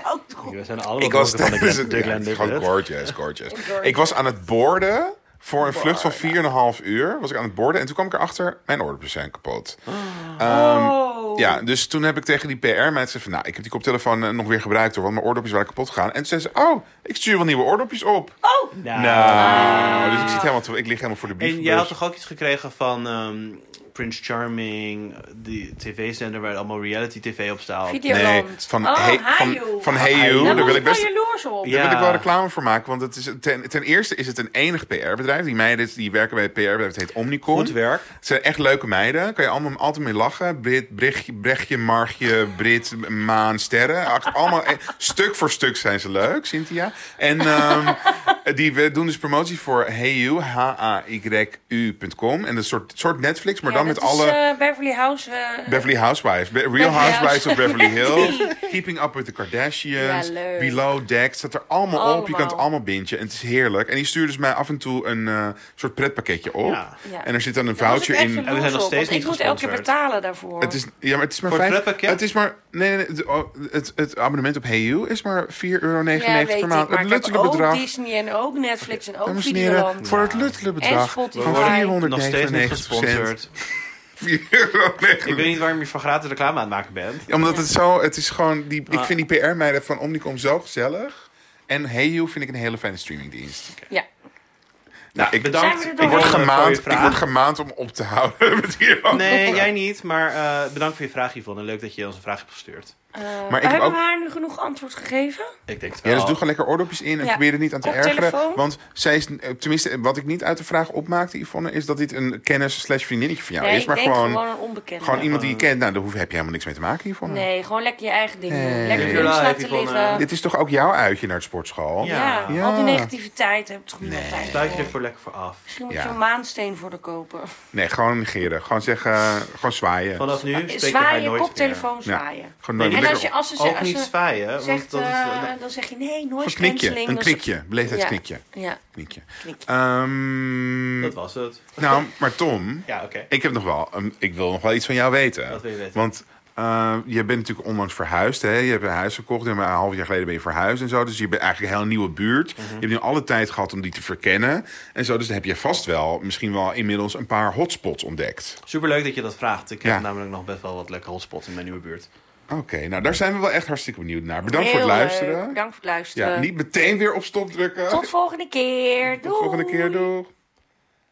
[SPEAKER 2] We zijn allemaal
[SPEAKER 3] Ik was
[SPEAKER 2] dronken
[SPEAKER 3] tijdens
[SPEAKER 2] van
[SPEAKER 3] het...
[SPEAKER 2] de,
[SPEAKER 3] ja,
[SPEAKER 2] Glen- de Glen dus.
[SPEAKER 3] het is gewoon
[SPEAKER 2] Douglas.
[SPEAKER 3] gorgeous, gorgeous. Ik was aan het borden voor een vlucht van 4,5 uur. Was ik aan het borden en toen kwam ik erachter, mijn oordopjes zijn kapot.
[SPEAKER 2] Ah.
[SPEAKER 3] Ehm,
[SPEAKER 1] oh.
[SPEAKER 3] ja, dus toen heb ik tegen die PR-meid gezegd van... nou, ik heb die koptelefoon eh, nog weer gebruikt hoor, want mijn oordopjes waren kapot gegaan. En toen zei ze, oh, ik stuur wel nieuwe oordopjes op.
[SPEAKER 1] Oh,
[SPEAKER 2] Nou.
[SPEAKER 3] Nou, dus ik, zit helemaal te- ik lig helemaal voor de
[SPEAKER 2] En jij had
[SPEAKER 3] brievenbus.
[SPEAKER 2] toch ook iets gekregen van ehm, Prince Charming, die tv-zender waar allemaal reality tv op staat.
[SPEAKER 3] Nee,
[SPEAKER 1] Videoland.
[SPEAKER 3] van,
[SPEAKER 1] oh,
[SPEAKER 3] hey, van,
[SPEAKER 1] Hajo.
[SPEAKER 3] van Hey
[SPEAKER 2] Hajo.
[SPEAKER 3] You,
[SPEAKER 1] Daar
[SPEAKER 3] daar
[SPEAKER 1] was
[SPEAKER 3] wil
[SPEAKER 1] ik
[SPEAKER 3] ik
[SPEAKER 1] wel
[SPEAKER 3] best...
[SPEAKER 1] jaloers op.
[SPEAKER 2] Ja.
[SPEAKER 3] Daar wil ik wel reclame voor maken, want het is ten, ten eerste is het een enig PR-bedrijf. Die meiden die werken bij het PR-bedrijf, het heet Omnicom.
[SPEAKER 2] Goed werk.
[SPEAKER 3] Het zijn echt leuke meiden. Kan je allemaal, altijd mee lachen. Brit, Brechtje, Brechtje, Margje, Brit, Maan, Sterren. Acht- Allemaal, eh, stuk voor stuk zijn ze leuk, Cynthia. En ehm, die we doen dus promotie voor E HeyU, H-A-Y-U.com. En dat is een soort, soort Netflix, maar
[SPEAKER 1] Ja,
[SPEAKER 3] dan
[SPEAKER 1] dat
[SPEAKER 3] met
[SPEAKER 1] is,
[SPEAKER 3] alle...
[SPEAKER 1] eh, Beverly House. eh,
[SPEAKER 3] Beverly Housewives. Be- Real
[SPEAKER 1] Beverly
[SPEAKER 3] Housewives of
[SPEAKER 1] House-
[SPEAKER 3] Beverly Hills. Keeping Up with the Kardashians.
[SPEAKER 1] Ja, leuk.
[SPEAKER 3] Below Deck. Staat er allemaal, op. Je kan het
[SPEAKER 1] Allemaal.
[SPEAKER 3] allemaal bintje. En het is heerlijk. En die stuurde dus mij af en toe een eh, soort pretpakketje op.
[SPEAKER 2] Ja.
[SPEAKER 1] Ja.
[SPEAKER 3] En er zit dan een
[SPEAKER 1] daar was ik
[SPEAKER 3] voucher
[SPEAKER 1] echt
[SPEAKER 3] in.
[SPEAKER 1] jaloers
[SPEAKER 2] En we zijn nog
[SPEAKER 1] op, want
[SPEAKER 2] steeds niet
[SPEAKER 1] Ik moet elke keer
[SPEAKER 2] gesponsord.
[SPEAKER 1] betalen daarvoor.
[SPEAKER 3] Het is, ja, maar het is maar
[SPEAKER 2] Voor het
[SPEAKER 3] vijf-
[SPEAKER 2] pretpakket?
[SPEAKER 3] Het is maar. Nee, nee, nee, het, oh, het, het abonnement op HeyU is maar 4,99 euro
[SPEAKER 1] ja, weet
[SPEAKER 3] per
[SPEAKER 1] ik,
[SPEAKER 3] maand.
[SPEAKER 1] maar
[SPEAKER 3] Het
[SPEAKER 1] ik heb
[SPEAKER 3] luttele bedrag.
[SPEAKER 1] ook Disney en ook Netflix en ook
[SPEAKER 3] Dames en heren,
[SPEAKER 1] Videoland.
[SPEAKER 3] voor het luttele bedrag van
[SPEAKER 1] Spotify.
[SPEAKER 3] 499
[SPEAKER 1] We worden
[SPEAKER 2] Nog steeds niet gesponsord.
[SPEAKER 3] 4,99 euro.
[SPEAKER 2] Ik weet niet waarom je van gratis reclame aan het maken bent.
[SPEAKER 3] Ja, Omdat het zo, het is gewoon, die, ik
[SPEAKER 2] Ah.
[SPEAKER 3] vind die PR-meiden van Omnicom zo gezellig. En Heyu vind ik een hele fijne streamingdienst.
[SPEAKER 1] Ja.
[SPEAKER 3] Nou, ik,
[SPEAKER 1] Zijn
[SPEAKER 2] Bedankt.
[SPEAKER 1] we er
[SPEAKER 3] ik,
[SPEAKER 1] door?
[SPEAKER 3] word
[SPEAKER 1] Voor je
[SPEAKER 3] gemaand,
[SPEAKER 2] vraag.
[SPEAKER 3] ik word gemaand om op te houden met hierover.
[SPEAKER 2] Nee, jij niet, maar eh, bedankt voor je vraag Yvonne. En Leuk dat je ons een vraag hebt gestuurd.
[SPEAKER 1] Eh,
[SPEAKER 3] heb
[SPEAKER 1] hebben
[SPEAKER 3] ook-
[SPEAKER 1] we haar nu genoeg antwoord gegeven?
[SPEAKER 2] Ik denk het
[SPEAKER 3] Ja,
[SPEAKER 2] wel.
[SPEAKER 3] dus doe gewoon lekker oordopjes in en
[SPEAKER 1] Ja.
[SPEAKER 3] probeer er niet aan te
[SPEAKER 1] Op
[SPEAKER 3] ergeren.
[SPEAKER 1] telefoon.
[SPEAKER 3] Want zij is, eh, tenminste, wat ik niet uit de vraag opmaakte, Yvonne, is dat dit een kennis slash vriendinnetje van jou
[SPEAKER 1] nee,
[SPEAKER 3] is. Maar
[SPEAKER 1] ik denk
[SPEAKER 3] gewoon,
[SPEAKER 1] gewoon,
[SPEAKER 3] gewoon,
[SPEAKER 1] een onbekende.
[SPEAKER 3] iemand die je kent. Nou, daar hoef, heb je helemaal niks mee te maken, Yvonne.
[SPEAKER 1] Nee, gewoon lekker je eigen ding doen.
[SPEAKER 3] Nee.
[SPEAKER 1] Lekker
[SPEAKER 3] Live
[SPEAKER 1] kunst
[SPEAKER 2] your
[SPEAKER 1] laten
[SPEAKER 2] life, Yvonne.
[SPEAKER 1] liggen.
[SPEAKER 3] Dit is toch ook jouw uitje naar het sportschool?
[SPEAKER 2] Ja.
[SPEAKER 1] Ja,
[SPEAKER 3] Ja.
[SPEAKER 1] al die negativiteit heb ik toch niet
[SPEAKER 3] Nee.
[SPEAKER 1] altijd.
[SPEAKER 2] Sluit je
[SPEAKER 1] voor.
[SPEAKER 2] ervoor lekker voor af.
[SPEAKER 1] Misschien moet
[SPEAKER 3] Ja.
[SPEAKER 1] je een maansteen voor de kopen.
[SPEAKER 3] Nee, gewoon negeren. Gewoon zeggen, gewoon zwaaien.
[SPEAKER 2] Vanaf nu spreek je haar
[SPEAKER 1] Zwaaien,
[SPEAKER 2] nooit meer.
[SPEAKER 1] koptelefoon
[SPEAKER 3] Ja.
[SPEAKER 1] zwaaien.
[SPEAKER 3] Gewoon nooit
[SPEAKER 2] Nee,
[SPEAKER 1] En
[SPEAKER 3] meer
[SPEAKER 1] als, je, als ze,
[SPEAKER 2] Ook
[SPEAKER 1] als
[SPEAKER 2] niet
[SPEAKER 1] ze
[SPEAKER 2] zwaaien, want
[SPEAKER 1] zegt,
[SPEAKER 2] dat is...
[SPEAKER 1] eh, dan zeg je nee,
[SPEAKER 3] Een
[SPEAKER 1] nooit
[SPEAKER 3] knikje, een knikje,
[SPEAKER 1] Ja.
[SPEAKER 3] beleefdheidsknikje.
[SPEAKER 1] Ja,
[SPEAKER 3] Knikje.
[SPEAKER 1] knikje.
[SPEAKER 3] Ehm,
[SPEAKER 2] Dat was het.
[SPEAKER 3] nou, maar Tom,
[SPEAKER 2] Ja, oké.
[SPEAKER 3] ik heb nog wel, een- ik wil nog wel iets van jou weten.
[SPEAKER 2] Wat wil je weten?
[SPEAKER 3] Want Eh, je bent natuurlijk onlangs verhuisd. Hè? Je hebt een huis gekocht. En maar een half jaar geleden ben je verhuisd en zo. Dus je bent eigenlijk een heel nieuwe buurt.
[SPEAKER 2] Mhm.
[SPEAKER 3] Je hebt nu alle tijd gehad om die te verkennen. En zo. Dus dan heb je vast wel misschien wel inmiddels een paar hotspots ontdekt.
[SPEAKER 2] Superleuk dat je dat vraagt. Ik heb
[SPEAKER 3] Ja.
[SPEAKER 2] namelijk nog best wel wat lekkere hotspots in mijn nieuwe buurt.
[SPEAKER 3] Oké, nou daar zijn we wel echt hartstikke benieuwd naar. Bedankt voor
[SPEAKER 1] Heel
[SPEAKER 3] het
[SPEAKER 1] leuk.
[SPEAKER 3] luisteren.
[SPEAKER 1] Bedankt voor het luisteren.
[SPEAKER 3] Ja, niet meteen weer op stop drukken.
[SPEAKER 1] Tot volgende keer.
[SPEAKER 3] Tot
[SPEAKER 1] Doei.
[SPEAKER 3] volgende keer, doeg.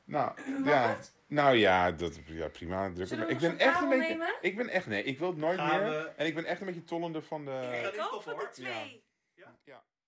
[SPEAKER 3] Nou, ja. Nou ja, dat, ja prima. Druk het maar. ik
[SPEAKER 4] we nog
[SPEAKER 3] ben
[SPEAKER 4] zo'n
[SPEAKER 3] echt een
[SPEAKER 4] kabel
[SPEAKER 3] beetje.
[SPEAKER 4] nemen?
[SPEAKER 3] Ik ben echt. Nee, ik wil het nooit
[SPEAKER 2] Gaan
[SPEAKER 3] meer.
[SPEAKER 2] we-
[SPEAKER 3] En ik ben echt een beetje tollender van de.
[SPEAKER 2] Ik ga niet stoppen, hoor.
[SPEAKER 1] Twee.